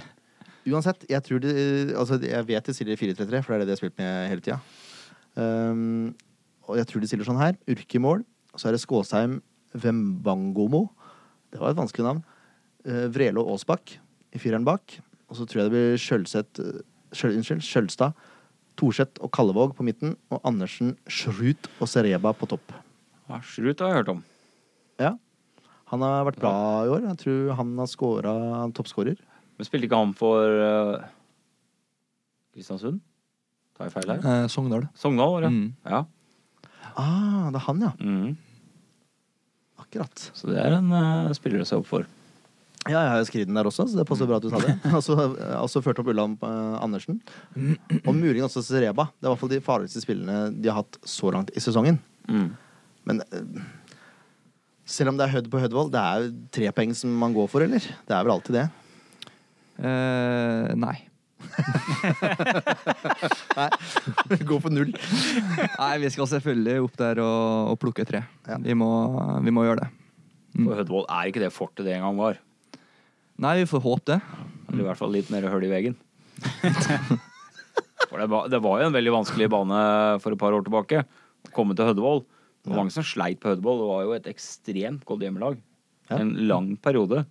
A: Uansett, jeg tror de Altså, jeg vet de stiller i 4-3-3, for det er det de har spilt med hele tida. Um, og jeg tror de stiller sånn her. Urke i mål. Så er det Skåsheim Vembangomo. Det var et vanskelig navn. Uh, Vrelo Aasbakk i fireren bak. Og så tror jeg det blir Skjølseth eh, Skjøl, Unnskyld, Skjølstad, Thorseth og Kallevåg på midten. Og Andersen, Schrut og Sereba på topp.
E: Ja, Schrut har jeg hørt om.
A: Ja. Han har vært bra i år. Jeg tror han har scora toppskårer.
E: Men spilte ikke han for eh, Kristiansund? Tar jeg feil her?
C: Eh, Sogndal.
E: Sogndal, var det.
C: Mm.
E: Ja.
A: Ah, det er han, ja.
E: Mhm.
A: Akkurat.
E: Så det er en eh, spiller å se opp for.
A: Ja, jeg har jo skrevet den der også, så det passer bra at du sa det. Altså, altså ført opp Ulland eh, Andersen. Og muligens også Sereba. Det er i hvert fall de farligste spillene de har hatt så langt i sesongen.
E: Mm.
A: Men eh, selv om det er Hødd på Hødvoll, det er jo tre poeng som man går for, eller? Det er vel alltid det.
C: Eh, nei.
A: Gå for null.
C: Nei, vi skal selvfølgelig opp der og, og plukke tre.
A: Ja.
C: Vi, må, vi må gjøre det.
E: For Hødvold er ikke det fortet det en gang var.
C: Nei, vi får håpe det.
E: Eller i hvert fall litt mer hull i veggen. For det var, det var jo en veldig vanskelig bane for et par år tilbake. Å komme til Hødvold. Det var mange som sleit på Hødvold. Det var jo et ekstremt godt hjemmelag.
A: Ja.
E: En lang periode.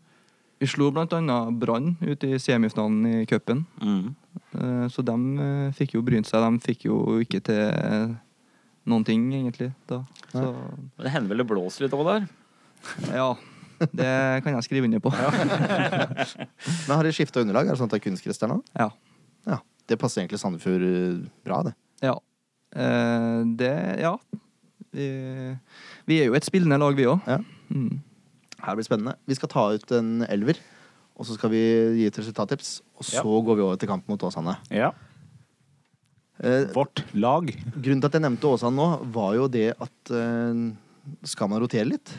C: Vi slo blant annet Brann ut i semifinalen i cupen.
E: Mm.
C: Eh, Så de eh, fikk jo brynt seg. De fikk jo ikke til eh, noen ting, egentlig. Da. Så
E: Men det hender vel det blåser litt òg der.
C: ja. Det kan jeg skrive under på.
A: Men har de skifta underlag? Er det sånn at det er kunstgress der nå?
C: Ja.
A: Ja. Det passer egentlig Sandefjord eh, bra, det.
C: ja. Eh, Det Ja. Vi, vi er jo et spillende lag, vi òg.
A: Ja.
C: Mm.
A: Her blir det spennende. Vi skal ta ut en elver, og så skal vi gi et resultattips. Og så
B: Ja.
A: går vi over til kamp mot Åsane.
B: Ja.
A: Eh,
B: Vårt lag.
A: Grunnen til at jeg nevnte Åsane nå, var jo det at eh, skal man rotere litt?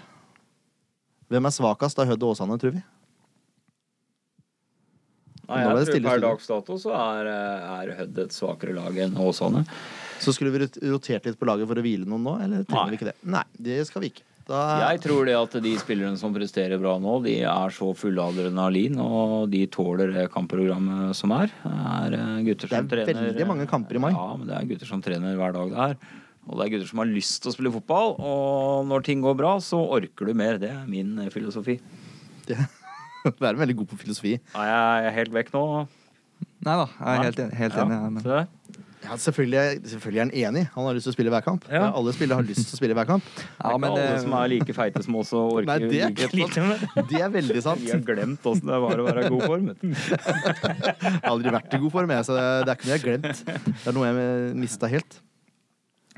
A: Hvem er svakest av Hødd og Åsane, tror vi?
E: Nei,
A: Nå ble
E: jeg
A: det
E: tror
A: stille,
E: per
A: stille.
E: dags dato så er, eh, er Hødd et svakere lag enn Åsane.
A: Så skulle vi rot- rotert litt på laget for å hvile noen nå, eller trenger
E: Nei.
A: vi ikke det? Nei, det skal vi ikke. Da,
E: Jeg tror det at de spillerne som presterer bra nå, de er så fulle av adrenalin, og de tåler det kampprogrammet som er. Det er eh, gutter
A: Det er
E: som trener
A: veldig mange kamper i mai.
E: Ja, men det er gutter som trener hver dag det er. Og det er gutter som har lyst til å spille fotball, og når ting går bra, så orker du mer. Det er min eh, filosofi.
A: det, det er veldig god på filosofi.
E: Er jeg er helt vekk nå?
C: Nei da, jeg er helt, en- helt enig.
E: Ja,
C: jeg, men-
E: se der.
A: Ja, selvfølgelig, selvfølgelig er han enig. Han har lyst til å spille hver kamp.
E: Ja.
A: Alle spillere har lyst til å spille hver kamp.
E: Det
C: Ja,
E: er
C: men
E: ikke alle som
C: det,
E: er like feite som oss og
A: eh, Nei,
E: orker
A: det er,
E: like
A: ikke sant. det er veldig sant.
E: Vi har glemt åssen det var å være i god form. vet du.
A: Jeg har aldri vært i god form, jeg, så det er ikke noe jeg har glemt. Det er noe jeg mista helt.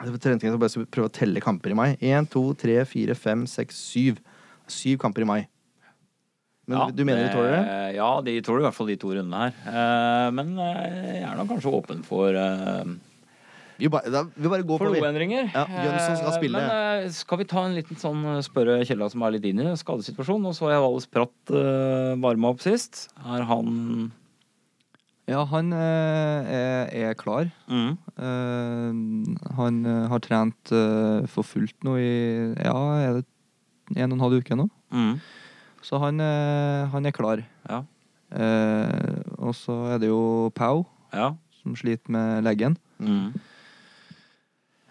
A: Det var treningen, så bare skal vi prøve å telle kamper i mai. Én, to, tre, fire, fem, seks, syv. Syv kamper i mai. Men
E: Ja,
A: du mener de tåler det?
E: eh, Ja, de tåler i hvert fall de to rundene her. Eh, Men eh, jeg er nok kanskje åpen for eh,
A: Vi bare, da, vi bare går
E: For
A: på vi.
E: endringer.
A: Ja, Jønsson skal spille.
E: Men eh, skal vi ta en liten sånn eh, spørre Kjella som er litt inne i skadesituasjonen? Nå så jeg Valles Pratt eh, varme opp sist. Er han
C: Ja, han eh, er, er klar.
E: Mm.
C: Eh, han eh, har trent eh, for fullt nå i ja, er det en og en halv uke nå.
E: Mm.
C: Så han, eh, han er klar.
E: Ja.
C: Eh, og så er det jo Pau
E: Ja.
C: som sliter med leggen.
E: Mm.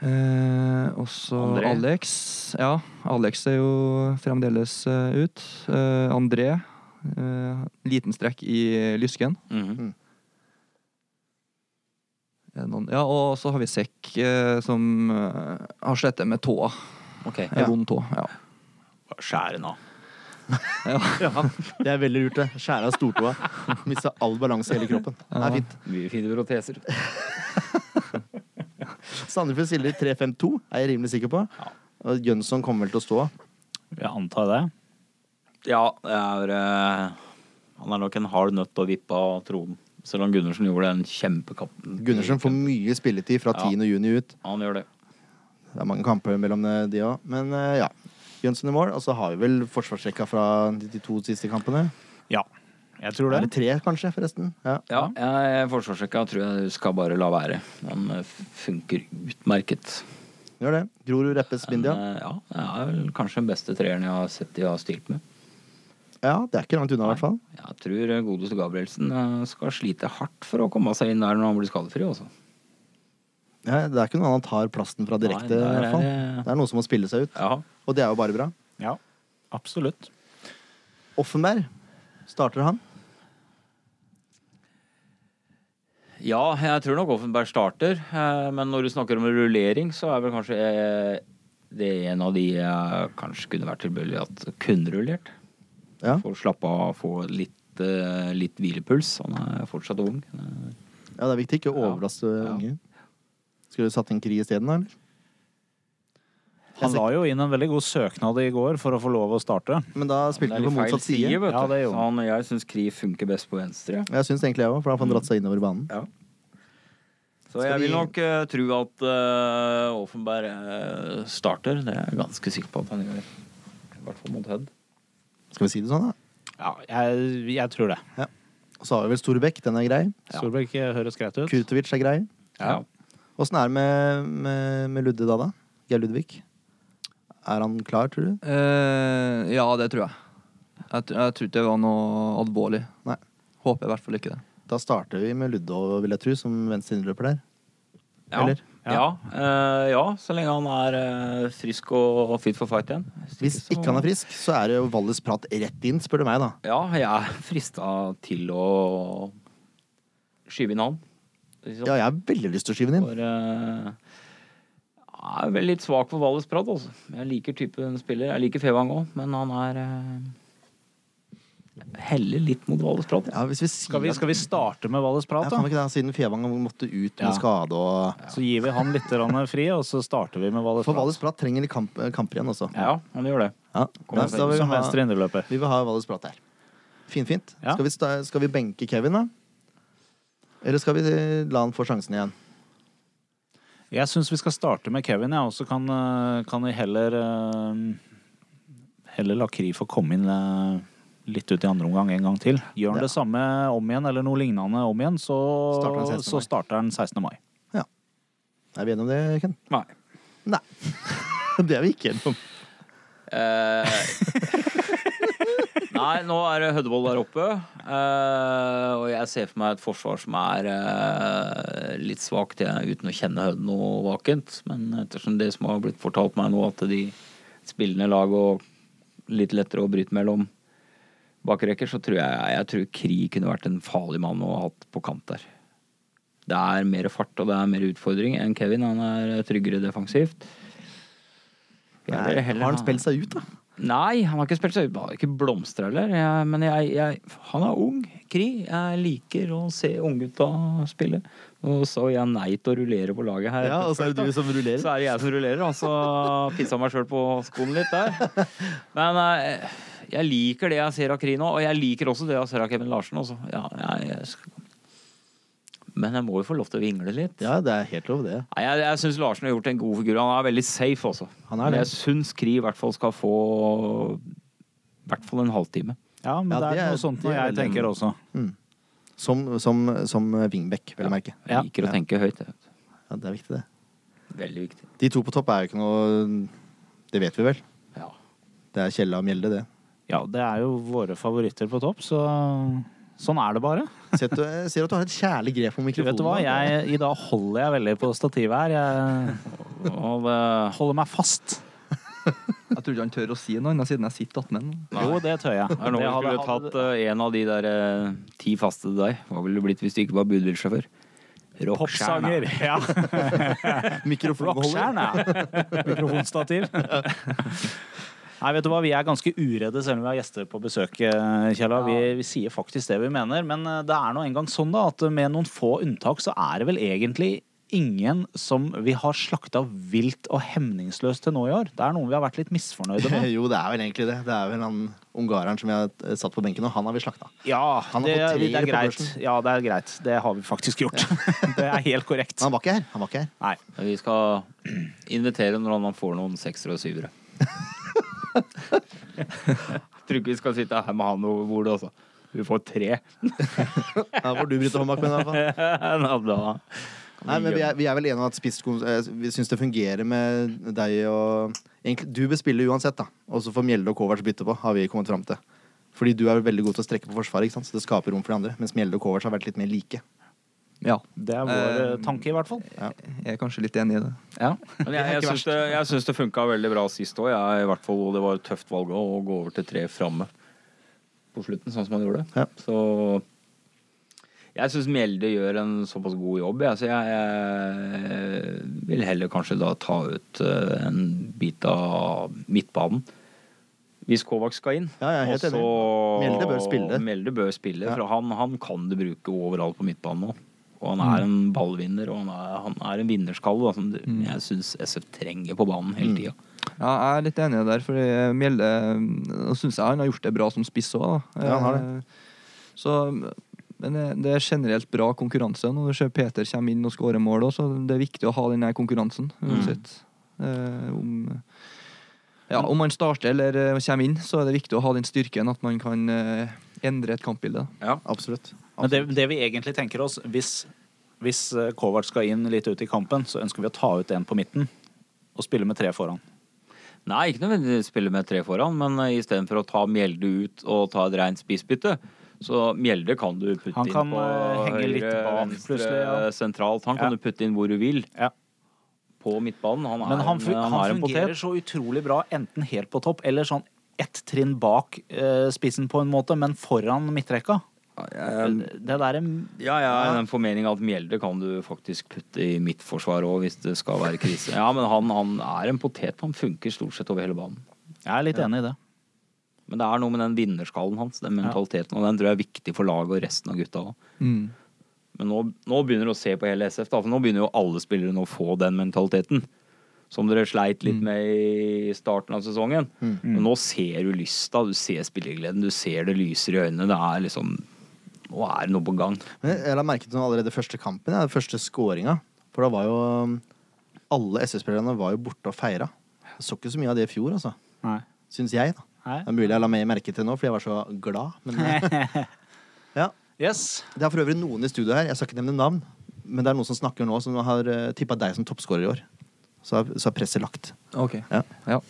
C: Eh, og så
E: André.
C: Alex. Ja, Alex er jo fremdeles eh, ut. Eh, André. Eh, liten strekk i lysken.
E: Mm.
C: Er det noen- Ja, og så har vi Sekk, eh, som eh, har slitt med tåa.
E: Ok.
C: En vond tå. Ja.
E: Skjære nå.
A: Det er veldig lurt, det. Skjære av stortåa. Mista all balanse i hele kroppen. Det er fint.
E: Mye fine proteser.
A: Sandefjord stiller i 3-5-2, er jeg rimelig sikker på. Og Jønsson kommer vel til å stå.
B: Jeg antar det.
E: Ja, det er eh, Han er nok en hard nøtt å vippe av tronen. Selv om Gundersen gjorde en kjempekamp.
A: Gundersen får mye spilletid fra
E: Ja.
A: 10. juni ut.
E: Han gjør det.
A: Det er mange kamper mellom eh, de òg. Men eh, ja. Jønsson i mål, og så har vi vel forsvarsrekka fra de to siste kampene.
B: Ja. Jeg tror
A: Er
B: det.
A: det tre, kanskje, forresten? Ja.
E: Ja, jeg, forsvarsrekka tror jeg du skal bare la være. Den eh, funker utmerket.
A: Gjør det. Grorud, Reppes,
E: Men,
A: Bindia.
E: eh, ja, det er vel kanskje den beste treeren jeg har sett de har stilt med.
A: Ja, det er ikke langt unna, i hvert fall.
E: Jeg tror eh, godeste Gabrielsen eh, skal slite hardt for å komme seg inn der når han blir skadefri. altså. Også.
A: Ja, det er ikke noe annet tar plassen fra direkte,
E: Nei,
A: i
E: der
A: hvert fall.
E: er det-
A: Det er noe som må spille seg ut.
E: Ja.
A: Og det er jo bare bra.
B: Ja, absolutt.
A: Offenberg, starter han?
E: ja, jeg tror nok Offenberg starter. eh, Men når du snakker om rullering, så er vel kanskje eh, det en av de jeg kanskje kunne vært tilbøyelig at kunne rullert.
A: Ja.
E: Få slappe av, få litt, eh, litt hvilepuls. Han er fortsatt ung. Eh,
A: Ja, det er viktig ikke å overlaste
E: Ja.
A: unge. Skulle du satt inn Kri isteden, da, eller?
B: Han la jo inn en veldig god søknad i går for å få lov å starte.
A: Men da spilte
E: det
A: han
E: er
A: på
E: litt feil
A: motsatt side.
E: vet du.
B: Ja, det gjorde
E: Så
B: han.
E: han, jeg syns Kri funker best på venstre.
A: Jeg syns egentlig jeg òg, for da får
E: Mm.
A: han dratt seg innover banen.
E: Ja. Så
A: Skal
E: jeg
A: vi-
E: vil nok eh, tro at eh, Offenberg eh, starter. Det er jeg ganske sikker på at han gjør. I hvert fall mot Hødd.
A: Skal vi si det sånn, da?
B: Ja, jeg, jeg tror det.
A: Og så har vi vel Storbekk, den er grei.
B: Solberg eh, høres greit ut.
A: Kurtovic er grei.
E: Ja.
A: Åssen er det med, med, med Ludde da, da? Geir Ludvig? Er han klar, tror du?
C: Eh, ja, det tror jeg. Jeg, tr- jeg tror ikke det var noe alvorlig.
A: Nei.
C: Håper i hvert fall ikke det.
A: Da starter vi med Ludde, og vil jeg tro, som venstre innløper der.
E: Ja.
A: Eller?
E: Ja. eh, ja, så lenge han er eh, frisk og fit for fight igjen.
A: Hvis ikke han er frisk, så er det jo Valles prat rett inn, spør du meg, da.
E: Ja, jeg er frista til å skyve inn han. Liksom.
A: Ja, jeg har veldig lyst til å skyve den inn.
E: For eh, Jeg er vel litt svak for Valles Pradd, altså. Jeg liker typen spiller. Jeg liker Fevang òg, men han er eh, Heller litt mot altså. Valles Pradd.
A: Ja, hvis vi sier
B: Skal vi, skal vi starte med Valles
A: at, ja,
B: prat,
A: kan vi ikke
B: da?
A: det, siden Fevang måtte ut med
B: Ja.
A: skade og
B: Så gir vi han litt grann fri, og så starter vi med Valles
A: For Valles
B: prat.
A: Prat trenger litt kamp, kamper igjen også.
E: Ja, han gjør det.
A: Ja.
E: Kommer
A: Men
E: seg
A: da vil vi,
B: Som venstre
A: ha,
B: indreløper.
A: vi vil ha Valles Prat der. Finfint.
B: Ja.
A: Skal, vi sta- skal vi benke Kevin, da? Eller skal vi la han få sjansen igjen?
B: Jeg syns vi skal starte med Kevin, jeg. Og så kan, eh, kan vi heller eh, Heller la Kri få komme inn eh, litt ut i andre omgang en gang til. Gjør han
A: Ja.
B: det samme om igjen, eller noe lignende om igjen, så
A: Starter han 16. mai.
B: så starter han 16. mai.
A: Er vi enige om det, Ken?
E: Nei.
A: Nei. det er vi ikke enige om.
E: Eh, Nei, nå er det Hødvold der oppe. eh, og jeg ser for meg et forsvar som er eh, litt svakt, jeg, uten å kjenne Hødd noe vakent. Men ettersom det som har blitt fortalt meg nå, at de spillende lag og litt lettere å bryte mellom bakrekker, så tror jeg jeg tror Kri kunne vært en farlig mann å ha hatt på kant der. Det er mer fart og det er mer utfordring enn Kevin. Han er tryggere defensivt. Jeg
A: Nei,
E: vil heller
A: har han
E: ha-
A: spilt seg ut, da?
E: Nei, han har ikke spilt seg ut. Han har ikke blomstra heller. Jeg- Men jeg, jeg, han er ung. Kri. Jeg liker å se unggutta spille. Og så jeg nei til å rullere på laget her.
A: Ja, og så er det du som rullerer.
E: Så er det jeg som rullerer, og så pissa meg sjøl på skoen litt der. Men eh, jeg liker det jeg ser av Kri nå, og jeg liker også det jeg ser av Kevin Larsen. Også. Ja, jeg, jeg skal... Men jeg må jo få lov til å vingle litt.
A: Ja, det er helt lov, det.
E: Nei, jeg, jeg syns Larsen har gjort en god figur. Han er veldig safe også.
A: Han er det.
E: Men jeg syns Kri i hvert fall skal få i hvert fall en halvtime.
B: Ja,
A: Ja,
B: men det er,
A: det er-
B: noe sånt
A: det er
B: jeg
A: veldig-
B: tenker også.
A: Mm. Som, som, som wingback, vil jeg merke.
B: Ja.
E: Liker å tenke høyt. jeg vet.
A: Ja, det er viktig, det.
E: Veldig viktig.
A: De to på topp er jo ikke noe Det vet vi vel.
E: Ja.
A: Det er Kjella og Mjelde, det.
B: Ja, det er jo våre favoritter på topp, så sånn er det bare.
A: Sett, jeg ser at du har et kjærlig grep om mikrofonen.
B: Vet du hva,
A: nå.
B: jeg, i dag holder jeg veldig på stativet her. Jeg
E: Og eh, det,
B: holder meg fast.
C: Jeg tror ikke han tør å si noe annet siden jeg sitter attmed ham.
B: Jo, det tør jeg.
E: det er nå
B: Det
E: vi
B: hadde-
E: skulle tatt eh, en av de der eh, ti faste til deg. Hva ville du blitt hvis du ikke var budbilsjåfør?
B: Popsanger. Ja.
A: Mikrofonbeholder.
B: Rockstjerne. Mikrofonstativ. Nei, vet du hva, Vi er ganske uredde selv om vi har gjester på besøk. eh, Kjella. Vi, vi sier faktisk det vi mener. Men eh, det er nå engang sånn da, at med noen få unntak så er det vel egentlig ingen som vi har slakta vilt og hemningsløst til nå i år. Det er noen vi har vært litt misfornøyde med.
A: Jo, det er vel egentlig det. Det er vel han ungareren som jeg eh, satt på benken, og han har vi slakta.
B: Ja,
A: Han har
B: det,
A: fått
B: det er
A: treer på
B: greit.
A: børsen.
B: Ja, det er greit. Det har vi faktisk gjort. Det er helt korrekt.
A: Men han var ikke her. Han var ikke her.
B: Nei.
E: Ja, Vi skal invitere når han får noen seksere og syvere. Tror ikke vi skal sitte her med han over bordet, altså. Du får tre.
A: Ja, hvor du bryter håndbak med, i hvert fall.
E: Ja, da.
A: Nei, men vi er, vi er vel enige om at spisskon- eh, Vi syns det fungerer med deg og egentlig, Du bespiller uansett, da. Og så får Mjelde og Kovac bytte på, har vi kommet fram til. Fordi du er vel veldig god til å strekke på forsvaret, ikke sant? så det skaper rom for de andre. Mens Mjelde og Kovac har vært litt mer like.
C: Ja.
B: Det er vår eh, tanke, i hvert fall.
C: Jeg er kanskje litt enig i det.
E: Men jeg, jeg, syns det, jeg syns det funka veldig bra sist òg. Det var et tøft valg også, å gå over til tre framme på slutten, sånn som han gjorde.
A: Ja.
E: Så jeg syns Mjelde gjør en såpass god jobb, jeg. Så jeg, jeg vil heller kanskje da ta ut eh, en bit av midtbanen. Hvis Kovac skal inn.
A: Ja, jeg er helt
E: og så-
A: enig. Mjelde bør spille.
E: Mjelde bør spille,
A: Ja.
E: for han, han kan du bruke overalt på midtbanen nå. Og han
B: Mm.
E: er en ballvinner, og han er, han er en vinnerskalle da, som du-
B: Mm.
E: jeg syns SF trenger på banen hele tida.
C: Ja, jeg er litt enig der, for Mjelde Nå syns jeg han har gjort det bra som spiss òg, da. Eh,
A: Ja, han har
C: Så men det, det er generelt bra konkurranse. Når du ser Peter kommer inn og skårer mål òg, så det er viktig å ha den her konkurransen.
A: Mm.
C: Uansett. Eh, om, ja, om man starter eller eh, kommer inn, så er det viktig å ha den styrken at man kan eh, endre et kampbilde.
A: Absolutt.
B: Men det, det vi egentlig tenker oss, hvis, hvis eh, Kovac skal inn litt ut i kampen, så ønsker vi å ta ut en på midten og spille med tre foran.
E: Nei, ikke nødvendigvis spille med tre foran, men eh, istedenfor å ta Mjelde ut og ta et reint spissbytte, så Mjelde kan du putte
B: Han kan,
E: inn på
B: eh, henge litt bak plutselig, ja.
E: sentralt. Han kan
B: Ja.
E: du putte inn hvor du vil.
B: Ja.
E: På midtbanen. Han er,
B: Men han, fu-
E: en-
B: han,
E: er en
B: fungerer
E: potet.
B: så utrolig bra enten helt på topp eller sånn ett trinn bak eh, spissen på en måte, men foran midtrekka. Det der er
E: Ja, jeg er i den formening at Mjelde kan du faktisk putte i midtforsvar òg, hvis det skal være krise. Ja, men han, han er en potet. Han funker stort sett over hele banen.
B: Jeg er litt enig i det.
E: Men det er noe med den vinnerskallen hans, den mentaliteten, og den tror jeg er viktig for laget og resten av gutta òg.
A: Mm.
E: Men nå, nå begynner du å se på hele SF, da, for nå begynner jo alle spillere nå å få den mentaliteten. Som dere sleit litt med i starten av sesongen. Men nå ser du lysta, du ser spillegleden, du ser det lyser i øynene. Det er liksom Nå er det noe på gang.
A: Men jeg la merke til noe allerede første kampen, ja, den første scoringa. For da var jo um, Alle SS-spillerne var jo borte og feira. Jeg så ikke så mye av det i fjor, altså.
B: Nei.
A: Syns jeg, da.
B: Nei.
A: Det er mulig jeg la meg merke til nå, fordi jeg var så glad. Men, ja.
B: Yes.
A: Det er for øvrig noen i studio her, jeg skal ikke nevne navn, men det er noen som snakker nå, som har uh, tippa deg som toppskårer i år. Så er, så er presset lagt.
C: Ok.
A: Ja.
C: Ja.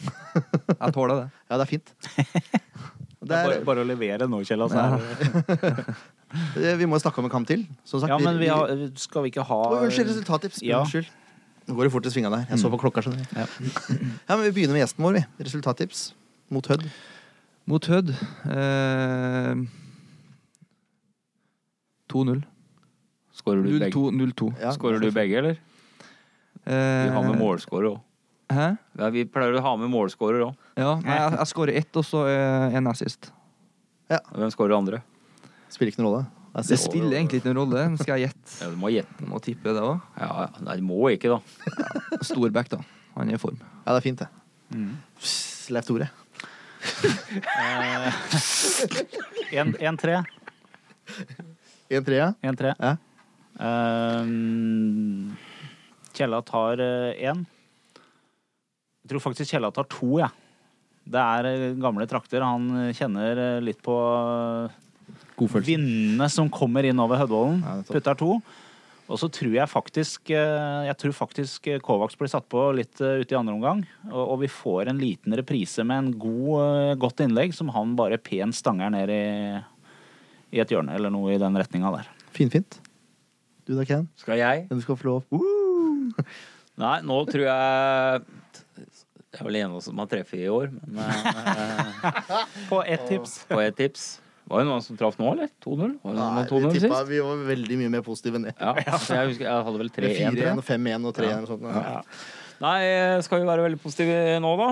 C: Jeg tåler det.
A: Ja, det er fint.
B: Det er bare,
A: Det
B: bare å levere nå, Kjell. Altså.
A: er, eh, vi må snakke om en kamp til. Som sagt,
B: Ja, men vi har, skal vi ikke ha
A: Oi, Unnskyld, resultattips.
B: Ja. Mm.
A: Unnskyld. Nå går det fort i svinga der. Jeg så på klokka. skjønner jeg. Ja, men Vi begynner med gjesten vår. vi. Resultattips mot Hødd.
C: Mot Hødd eh, 2-0.
E: Skårer du begge?
C: 0-2.
A: Ja.
E: Skårer du begge, eller? Vi har med målskårer òg.
C: Eh, Hæ?
E: Eh, Ja, vi pleier å ha med målskårer òg.
C: Ja, nei, jeg, jeg skårer ett, og så eh, en assist.
E: Hvem skårer andre?
A: Spiller ikke noen rolle. Jeg
C: Det
A: ser-
C: spiller egentlig ikke noen rolle, men skal jeg gjette?
E: Ja, du må gjette.
C: Jeg Må tippe det òg.
E: Ja, ja. Nei, du må ikke, da.
C: Storbekk, da. Han er i form.
A: Ja, det er fint, det.
B: Mm.
A: Pss, Leif Tore.
B: 1-3.
A: 1-3, ja.
B: 1-3.
A: Ja.
B: Ehm, Kjella tar én. Jeg tror faktisk Kjella tar to, jeg. Det er eh, gamle trakter. Han eh, kjenner eh, litt på eh,
G: godfølelsen.
B: vindene som kommer inn over Hødvollen.
A: Ja, nettopp.
B: putter to. Og så tror jeg faktisk eh, Jeg tror faktisk eh, Kovacs blir satt på litt eh, ute i andre omgang. Og, og vi får en liten reprise med en god, eh, godt innlegg som han bare pent stanger ned i, i et hjørne eller noe i den retninga der.
A: Finfint. Du da, Ken?
E: Skal jeg?
A: Men du skal få lov.
E: Nei, nå tror jeg Det er vel en av oss som har treffet i år, men eh,
B: På ett tips.
E: på et tips Var det noen som traff nå, eller? 2-0? Var det noen med 2-0
A: vi
E: sist?
A: tippa vi var veldig mye mer positive enn det.
E: Ja, så jeg husker jeg hadde vel 3-1. tror jeg.
A: 4-1 og 5-1 og 3-1 og sånt. Ja.
E: Nei, skal vi være veldig positive nå, da?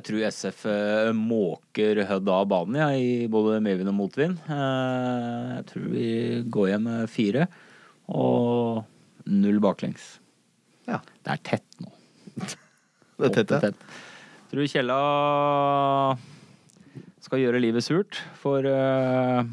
E: Jeg tror SF eh, måker Hødd av banen ja, i både medvind og motvind. Eh, Jeg tror vi går hjem med fire og null baklengs.
A: Ja.
E: Det er tett nå.
A: Det er tett, ja.
E: Tett. Tror Kjella skal gjøre livet surt for eh,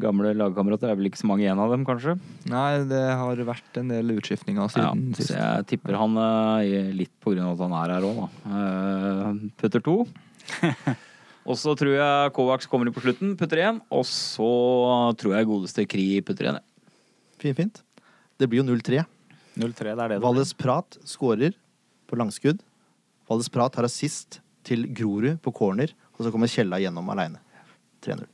E: gamle lagkamerater. Det er vel ikke så mange igjen av dem, kanskje.
C: Nei, det har vært en del utskiftninger siden
E: ja,
C: sist.
E: Så jeg tipper han eh, litt på grunn av at han er her òg, da. Eh, putter to. og så tror jeg Kovacs kommer inn på slutten, putter én. Og så tror jeg godeste Kri putter én.
A: Finfint. Det blir jo 0-3.
B: 0-3, det er det. det blir.
A: Valles Prat skårer på langskudd. Valles Prat har assist til Grorud på corner, og så kommer Kjella gjennom aleine. 3-0.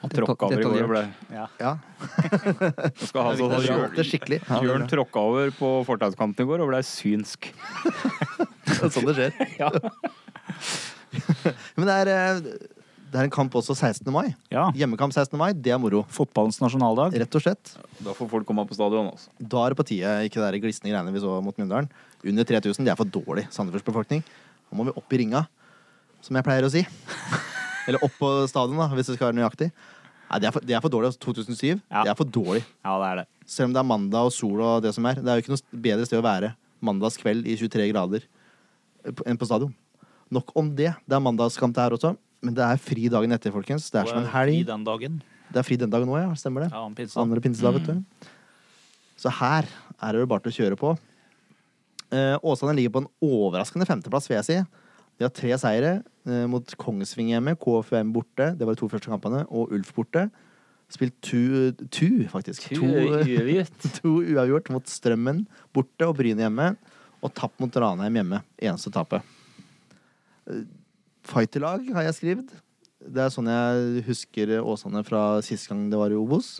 E: Han tråkka over i går. og ble-
B: Ja.
A: Ja,
E: Jeg Skal ha
A: det er
E: sånn
A: kjørt det skikkelig. Altså, Ja, det er
E: Jørn
A: bra.
E: tråkka over på fortauskanten i går og blei synsk.
A: Det er sånn det skjer.
E: Ja.
A: Men det er, eh, det er en kamp også 16. mai.
B: ja.
A: Hjemmekamp 16. mai, det er moro.
B: Fotballens nasjonaldag.
A: Rett og slett.
E: Da får folk komme på stadion, altså.
A: Da er det på tide ikke det der glisne greiene vi så mot Mjøndalen. Under 3000, det er for dårlig Sandefjords befolkning. Nå må vi opp i ringa, som jeg pleier å si. Eller opp på stadion, da, hvis det skal være nøyaktig. Nei, det er for, det er for dårlig. altså. 2007,
B: Ja.
A: det er for dårlig.
B: Ja, det er det.
A: Selv om det er mandag og sol og det som er. Det er jo ikke noe bedre sted å være mandagskveld i 23 grader enn på stadion. Nok om det. Det er mandagskamp det her også. Men det er fri dagen etter, folkens. Det er som en
B: I
A: helg.
B: den dagen.
A: Det er fri den dagen òg, ja. Stemmer det.
B: Ja, han pinsa.
A: Andre pinsedag, vet du. Så her er det jo bare til å kjøre på. Eh, Åsane ligger på en overraskende femteplass, vil jeg si. De har tre seire eh, mot Kongsving hjemme, KFUM borte, det var de to første kampene, og Ulf borte. Spilt tu, tu faktisk. To,
E: eh, Uavgitt.
A: to uavgjort mot Strømmen borte og Bryne hjemme. Og tapt mot Ranheim hjemme. Eneste tapet. Eh, Fighterlag har jeg skrevet. Det er sånn jeg husker Åsane fra sist gang det var i Obos.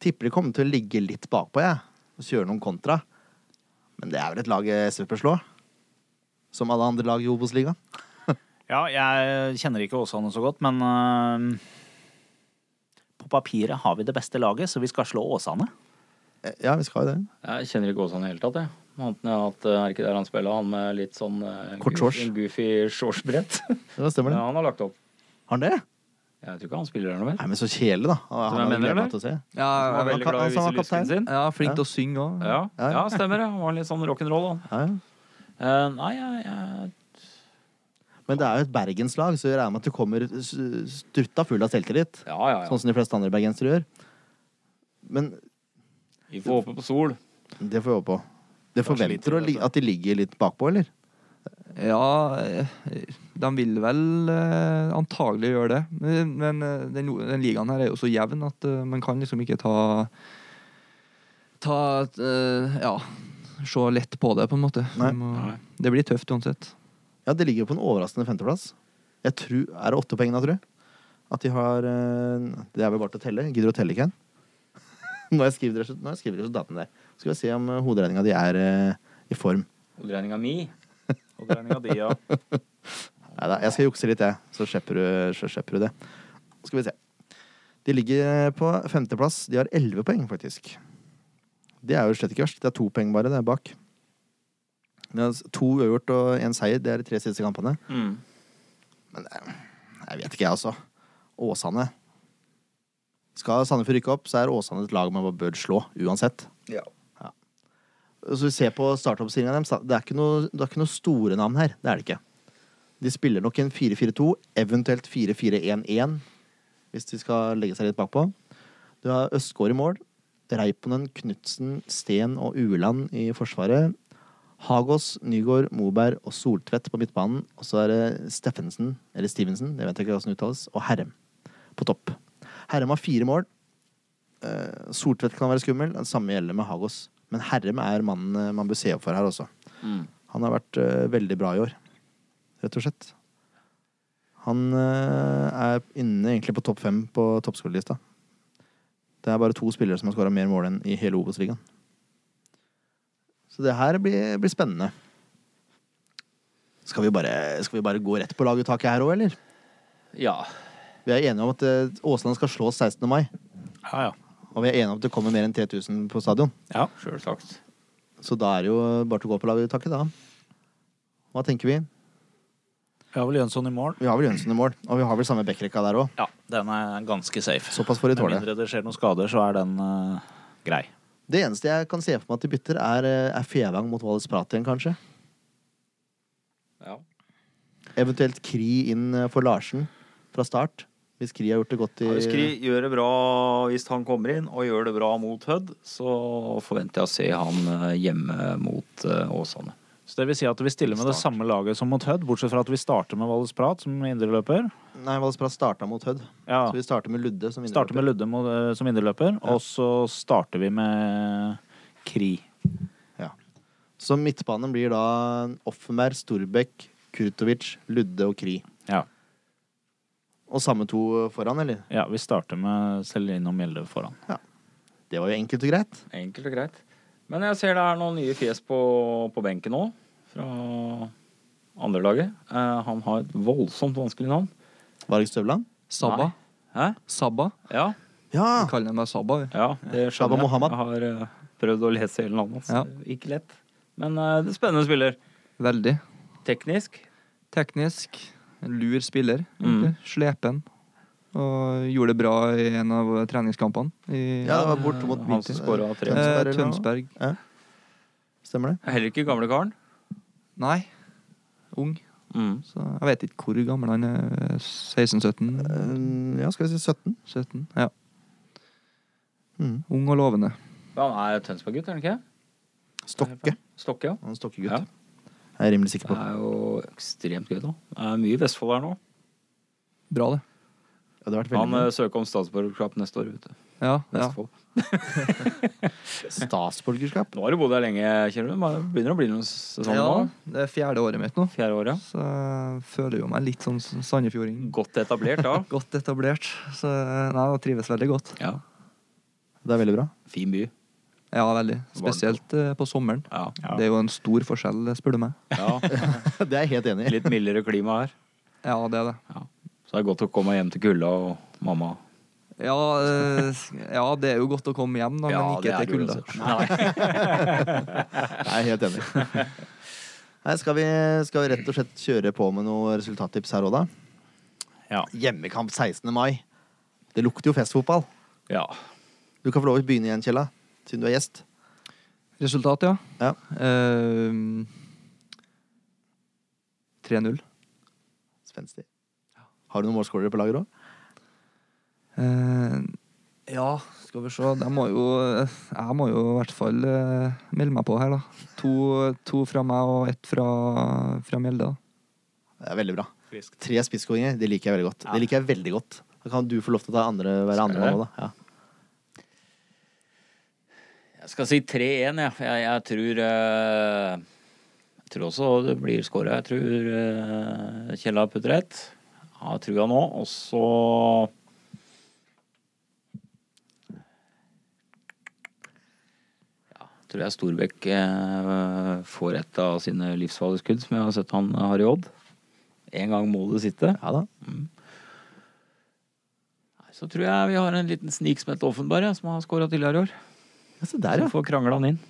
A: Tipper de kommer til å ligge litt bakpå, jeg. Og kjøre noen kontra. Men det er vel et lag SV bør slå? Som alle andre lag i Obos-ligaen.
B: Ja, jeg kjenner ikke Åsane så godt, men øhm, på papiret har vi det beste laget, så vi skal slå Åsane.
A: Eh, Ja, vi skal jo det.
E: Jeg kjenner ikke Åsane i det hele tatt, jeg. Annet enn at eh, er ikke der han spiller, han med litt sånn eh,
A: Kort
E: goofy,
A: shorts.
E: goofy shortsbrett.
A: Ja, stemmer
E: Ja,
A: det.
E: han har lagt opp.
A: Har han det?
E: Jeg tror ikke han spiller der noe mer.
A: Nei, men så kjedelig, da. Han
E: jeg
A: har
E: mener,
A: gledet meg
E: eller?
A: til å se.
C: Ja,
E: Han var
C: jeg,
E: veldig
A: kan-
E: glad i å
A: altså, han var
E: vise lysken sin.
C: ja flink til å synge òg.
E: Ja,
A: Ja, ja.
E: ja, stemmer det. Han var litt sånn rock'n'roll, han.
A: Ja, ja.
E: Eh, nei, jeg, jeg
A: Men det er jo et bergenslag, så jeg regner med at du kommer s- strutta full av selvtillit.
E: Ja, ja, ja.
A: Sånn som de fleste andre bergensere gjør. Men
E: Vi får håpe på sol.
A: det får vi håpe på. Det forventer du å li-
E: altså.
A: at de ligger litt bakpå, eller?
C: Ja, eh, de vil vel eh, antagelig gjøre det. Men, men eh, den, den ligaen her er jo så jevn at eh, man kan liksom ikke ta Ta eh, Ja, se lett på det, på en måte.
A: Nei.
C: Man Må, det blir tøft uansett.
A: Ja, de ligger jo på en overraskende femteplass. Jeg tror, Er det åtte poeng, da, tror jeg? At de har eh, Det er vel bare til å telle. Gidder du å telle, Ken? Nå har jeg skrevet resu- nå har jeg skrevet resultatene der. Skal vi se om eh, hoderegninga di er eh, i form.
E: Odregninga mi.
A: Neida, jeg skal jukse litt, jeg. Så slipper du, så slipper du det. Skal vi se. De ligger på femteplass. De har elleve poeng, faktisk. Det er jo slett ikke verst. Det er to poeng bare der bak. Det er altså to uavgjort og én seier. Det er de tre siste kampene.
E: Mm.
A: Men eh, jeg vet ikke, jeg, altså. Åsane. Skal Sandefjord rykke opp, så er Åsane et lag man bare bør slå, uansett. Ja. Så vi ser på startoppstillinga deres. da. Det er, ikke noe, det er ikke noe store navn her. Det er det ikke. De spiller nok en 4-4-2, eventuelt 4-4-1-1, hvis de skal legge seg litt bakpå. Du har Østgård i mål. Reiponen, Knutsen, Steen og Ueland i forsvaret. Hagås, Nygaard, Moberg og Soltvedt på midtbanen. Og så er det Steffensen, eller Stevensen, det vet jeg ikke hvordan det uttales, og Herrem på topp. Herrem har fire mål. Eh, Sortvedt kan være skummel. Det samme gjelder med Hagos. Men Herrem er mannen eh, man bør se opp for her også.
E: Mm.
A: Han har vært eh, veldig bra i år, rett og slett. Han eh, er inne egentlig på topp fem på toppskårerlista. Det er bare to spillere som har skåra mer mål enn i hele Obos-ligaen. Så det her blir, blir spennende. Skal vi, bare, skal vi bare gå rett på laguttaket her òg, eller?
E: Ja.
A: Vi er enige om at eh, Åsland skal slås 16. mai.
B: Ja, ja.
A: Og vi er enige om at det kommer mer enn 3000 på stadion.
B: ja.
E: Sjølsagt.
A: Så da er det jo bare til å gå på laguttaket, da. Hva tenker vi?
B: Vi har vel Jønsson i mål.
A: Vi har vel Jønsson i mål, og vi har vel samme backrekka der òg.
B: Ja, den er ganske safe.
A: Såpass får de
B: Med
A: tåle.
B: mindre det skjer noen skader, så er den eh, grei.
A: Det eneste jeg kan se for meg at de bytter, er, eh, er Fevang mot Wallis Prat igjen, kanskje.
E: Ja.
A: Eventuelt Kri inn eh, for Larsen fra start. Hvis Kri har gjort det godt i
E: Skri gjør det bra hvis han kommer inn, og gjør det bra mot Hødd, så forventer jeg å se han eh, hjemme mot eh, Åsane.
B: Så det vil si at vi stiller med det
E: Start.
B: samme laget som mot Hødd, bortsett fra at vi starter med Valles Prat som indreløper.
A: Nei, Wallis Prat starta mot Hødd.
B: Ja.
A: Så vi starter med Ludde som
B: Starter med Ludde mot, eh, som indreløper, og så starter vi med Kri.
A: Ja. Så midtbanen blir da Offenberg, Storbekk, Kurtovic, Ludde og Kri.
B: Ja.
A: Og samme to foran, eller?
B: ja, vi starter med Celine og Mjelde foran.
A: Det var jo enkelt og greit.
E: Enkelt og greit. Men jeg ser det er noen nye fjes på, på benken nå, fra andrelaget. Eh, han har et voldsomt vanskelig navn.
A: Varg Støvland?
C: Sabba.
E: Nei. Hæ?
C: Sabba.
E: Ja,
A: Ja!
C: Vi kaller meg Sabba. vi.
E: ja det
A: Shaba
E: skjønner jeg.
A: Mohammed.
E: Jeg har eh, prøvd å lese hele navnet hans.
C: Ja.
E: Ikke lett. Men eh, det er spennende spiller.
C: Veldig.
E: Teknisk.
C: Teknisk. En Lur spiller. egentlig. Slepen. Og gjorde det bra i en av eh, treningskampene. I
A: Ja, det var bort mot
E: Han som scoret tre.
A: Tønsberg.
C: eh,
A: eller noe.
C: Tønsberg.
A: Ja. Stemmer det?
E: Heller ikke gamle karen.
C: Nei. Ung.
E: Mm.
C: Så jeg vet ikke hvor gammel han er. 16-17?
A: Eh, Ja, skal vi si 17?
C: 17? Ja.
A: Mm.
C: Ung og lovende.
E: Han er Tønsberg-gutt, er han ikke?
A: Stokke.
E: Stokke, ja.
A: Han er stokkegutt. Jeg er rimelig sikker
E: Det
A: på.
E: er jo ekstremt gøy, da. Det er mye Vestfold her nå.
C: Bra, det.
A: Ja, det har vært
E: Han
A: veldig
E: eh,
A: mye.
E: søker om statsborgerskap neste år, vet du.
C: Ja, ja.
E: Vestfold.
A: Statsborgerskap.
E: Nå har du bodd her lenge, Kjell. Det begynner å bli noen sesonger
C: ja.
E: nå.
C: Det er fjerde året mitt nå,
E: Fjerde året.
C: så jeg føler jo meg litt sånn sandefjording.
E: Godt etablert da.
C: Godt etablert. Så nei, jeg trives veldig godt.
E: Ja.
A: Det er veldig bra.
E: Fin by.
C: Ja, veldig. Spesielt eh, på sommeren.
E: Ja.
C: Det er jo en stor forskjell, spør du meg.
E: ja.
A: Det er jeg helt enig i.
E: Litt mildere klima her.
C: Ja, det er det.
E: Så det er godt å komme hjem til kulda og mamma.
C: Ja, eh, ja det er jo godt å komme hjem, da, men ikke til kulda.
E: Nei.
A: Jeg er helt enig. Nei, skal, vi, skal vi rett og slett kjøre på med noen resultattips her òg, da?
B: Ja.
A: Hjemmekamp 16. mai. Det lukter jo festfotball.
E: Ja.
A: Du kan få lov til å begynne igjen, Kjella. Siden du er gjest.
C: Resultat, ja.
A: Ja.
C: Eh, 3-0.
A: Spenstig. Har du noen målskålere på lager òg?
C: Eh, ja, skal vi se. Jeg må jo, jeg må jo i hvert fall eh, melde meg på her, da. To, to fra meg og ett fra, fra Mjelde. da.
A: Det er veldig bra. Tre spisskåringer, det liker jeg veldig godt. Det liker jeg veldig godt. Da kan du få lov til å ta andre, være andre
E: Skal jeg
A: mann òg, da. Ja.
E: Jeg skal si 3-1, jeg. Jeg, jeg tror eh, Jeg tror også det blir skåra. Jeg tror uh, Kjell har putter rett. Jeg Har trua nå. Og så Ja, tror jeg Storbekk eh, får et av sine livsfarlige skudd, som jeg har sett han har i odd. En gang må det sitte. Mm.
A: ja da.
E: Så tror jeg vi har en liten snik som heter Offenberg, ja, som har skåra tidligere i år.
A: Ja, se der,
E: Så
A: ja.
E: får krangla han inn.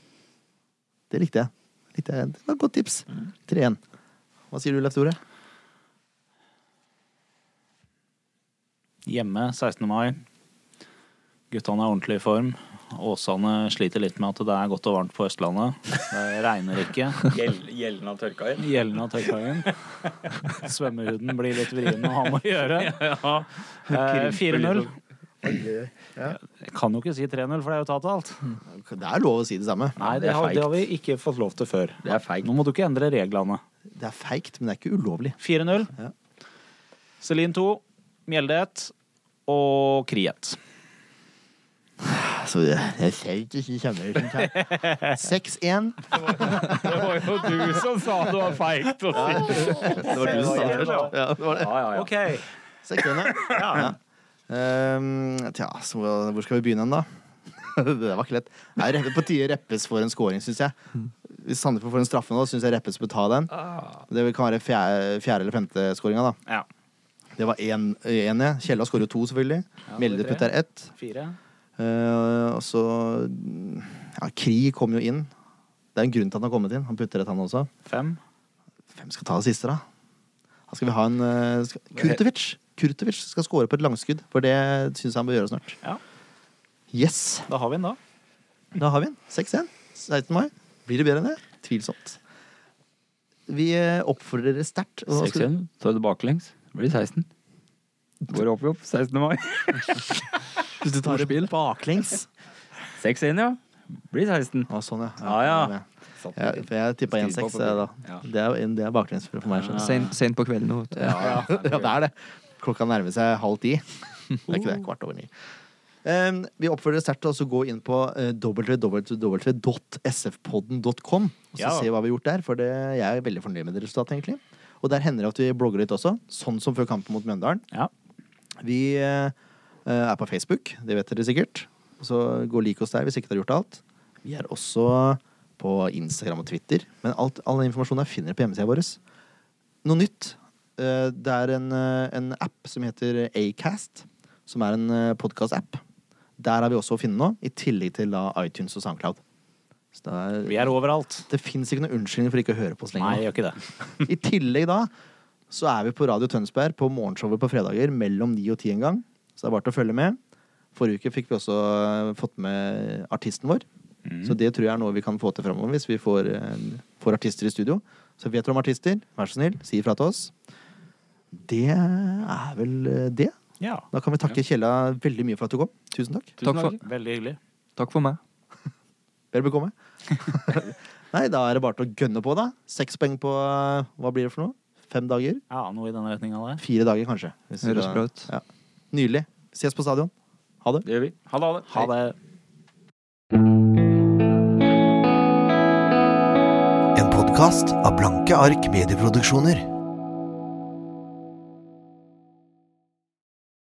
A: Det likte jeg. Likte jeg. Det var et godt tips. 3-1. Hva sier du, Leif Tore?
B: Hjemme 16. mai. Guttene er ordentlig i form. Åsane sliter litt med at det er godt og varmt på Østlandet. Det regner ikke.
E: Gjelden har tørka inn.
B: Gjelden av tøykagen. Svømmehuden blir litt vrien å ha med å gjøre. Eh, 4-0. sånn- Jeg kan jo ikke si 3-0, for det er jo tatt alt.
A: Det er lov å si det samme.
B: Nei, det
E: det er
B: har, det
E: feigt.
B: har vi ikke fått lov til før.
E: Det er feigt.
B: Nå må du ikke endre reglene.
A: Det er feigt, men det er ikke ulovlig.
B: 4-0.
A: Ja.
B: Celine 2, Mjelde 1,
E: og Kriet.
A: Så Altså, det, jeg ser ikke så kjenner det som kjent. 6-1.
E: Det var jo du som sa det var feigt å si.
A: Det var du som sa det først. ja. Ja, det var det.
E: Ja, ja, ja.
B: OK.
A: Sekkene. Ja. Ehm, tja, så hvor skal vi begynne hen, da? det der var ikke lett. Nei, Reppe- på tide Reppes får en scoring, syns jeg. Hvis Sandefjord får en straffe nå, syns jeg Reppes bør ta den. Det kan være fjerde, fjerde eller femte scoringa, da.
B: Ja.
A: Det var én, én ja. Kjella skårer jo to, selvfølgelig. Mjelde
B: det er
A: putter ett.
B: Fire.
A: Eh, og så Ja, Kri kom jo inn. Det er en grunn til at han har kommet inn. Han putter et, han også.
B: Fem.
A: Hvem skal ta det siste, da? Da skal vi ha en eh, skal, Kurtovic! Kurtovic skal score på et langskudd, for det syns han bør gjøre snart.
B: Ja.
A: Yes!
B: Da har vi den, da.
A: Da har vi den. 6-1. 16. mai. Blir det bedre enn det? Tvilsomt. Vi eh, oppfordrer dere sterkt. og da skal-
E: 6-1. Så er det baklengs. Det blir 16. Går opp i opp. 16. mai.
A: Hvis du tar det baklengs.
E: 6-1, ja. Blir 16.
A: Å, sånn, ja.
E: Ja, ja.
A: Ja, for jeg tippa 1-6,
E: Skriv på
A: eh, da.
E: Ja.
A: Det er, det er baklengs for for meg. skjønner du.
C: Sent, sent på kvelden nå, vet du.
A: Ja, det er det. Klokka nærmer seg halv ti. Det er ikke det. Kvart over ni. Um, vi oppfordrer sterkt til å også gå inn på eh, www.sfpodden.com og så
B: Ja.
A: se hva vi har gjort der. For det, jeg er veldig fornøyd med det resultatet, egentlig. Og der hender det at vi blogger litt også, sånn som før kampen mot Mjøndalen.
B: Ja.
A: Vi eh, er på Facebook, det vet dere sikkert. Så gå og lik oss der hvis ikke dere har gjort alt. Vi er også på Instagram og Twitter. Men alt, all den informasjonen der finner dere på hjemmesida vår. Noe nytt. eh, Det er en, eh, en app som heter Acast, som er en eh, podcast-app. Der er vi også å finne nå, i tillegg til da iTunes og SoundCloud. Så det er,
B: Vi er overalt.
A: det fins ikke noen unnskyldning for ikke å høre på oss lenger.
B: Nei, jeg gjør ikke det.
A: I tillegg da så er vi på Radio Tønsberg på morgenshowet på fredager mellom 9 og 10 en gang. Så det er bare til å følge med. Forrige uke fikk vi også eh, fått med artisten vår. Så det tror jeg er noe vi kan få til framover hvis vi får, eh, får artister i studio. Så vet dere om artister, vær så snill, si ifra til oss. Det er vel eh, det.
B: Ja.
A: Da kan vi takke Kjella veldig mye for at du kom. Tusen takk.
E: Tusen
C: Takk for-
E: takk.
B: Veldig hyggelig.
C: Takk for meg.
A: Vel bekomme. Nei, da er det bare til å gønne på, da. Seks poeng på eh, hva blir det for noe? Fem dager?
B: Ja, noe i den retninga der.
A: Fire dager, kanskje. Hvis
C: Høres
A: du-
C: bra ut.
A: Ja. Nydelig. Ses på stadion. Ha det.
E: Det gjør vi. Ha det.
B: Ha det.
G: En podkast av Blanke ark medieproduksjoner.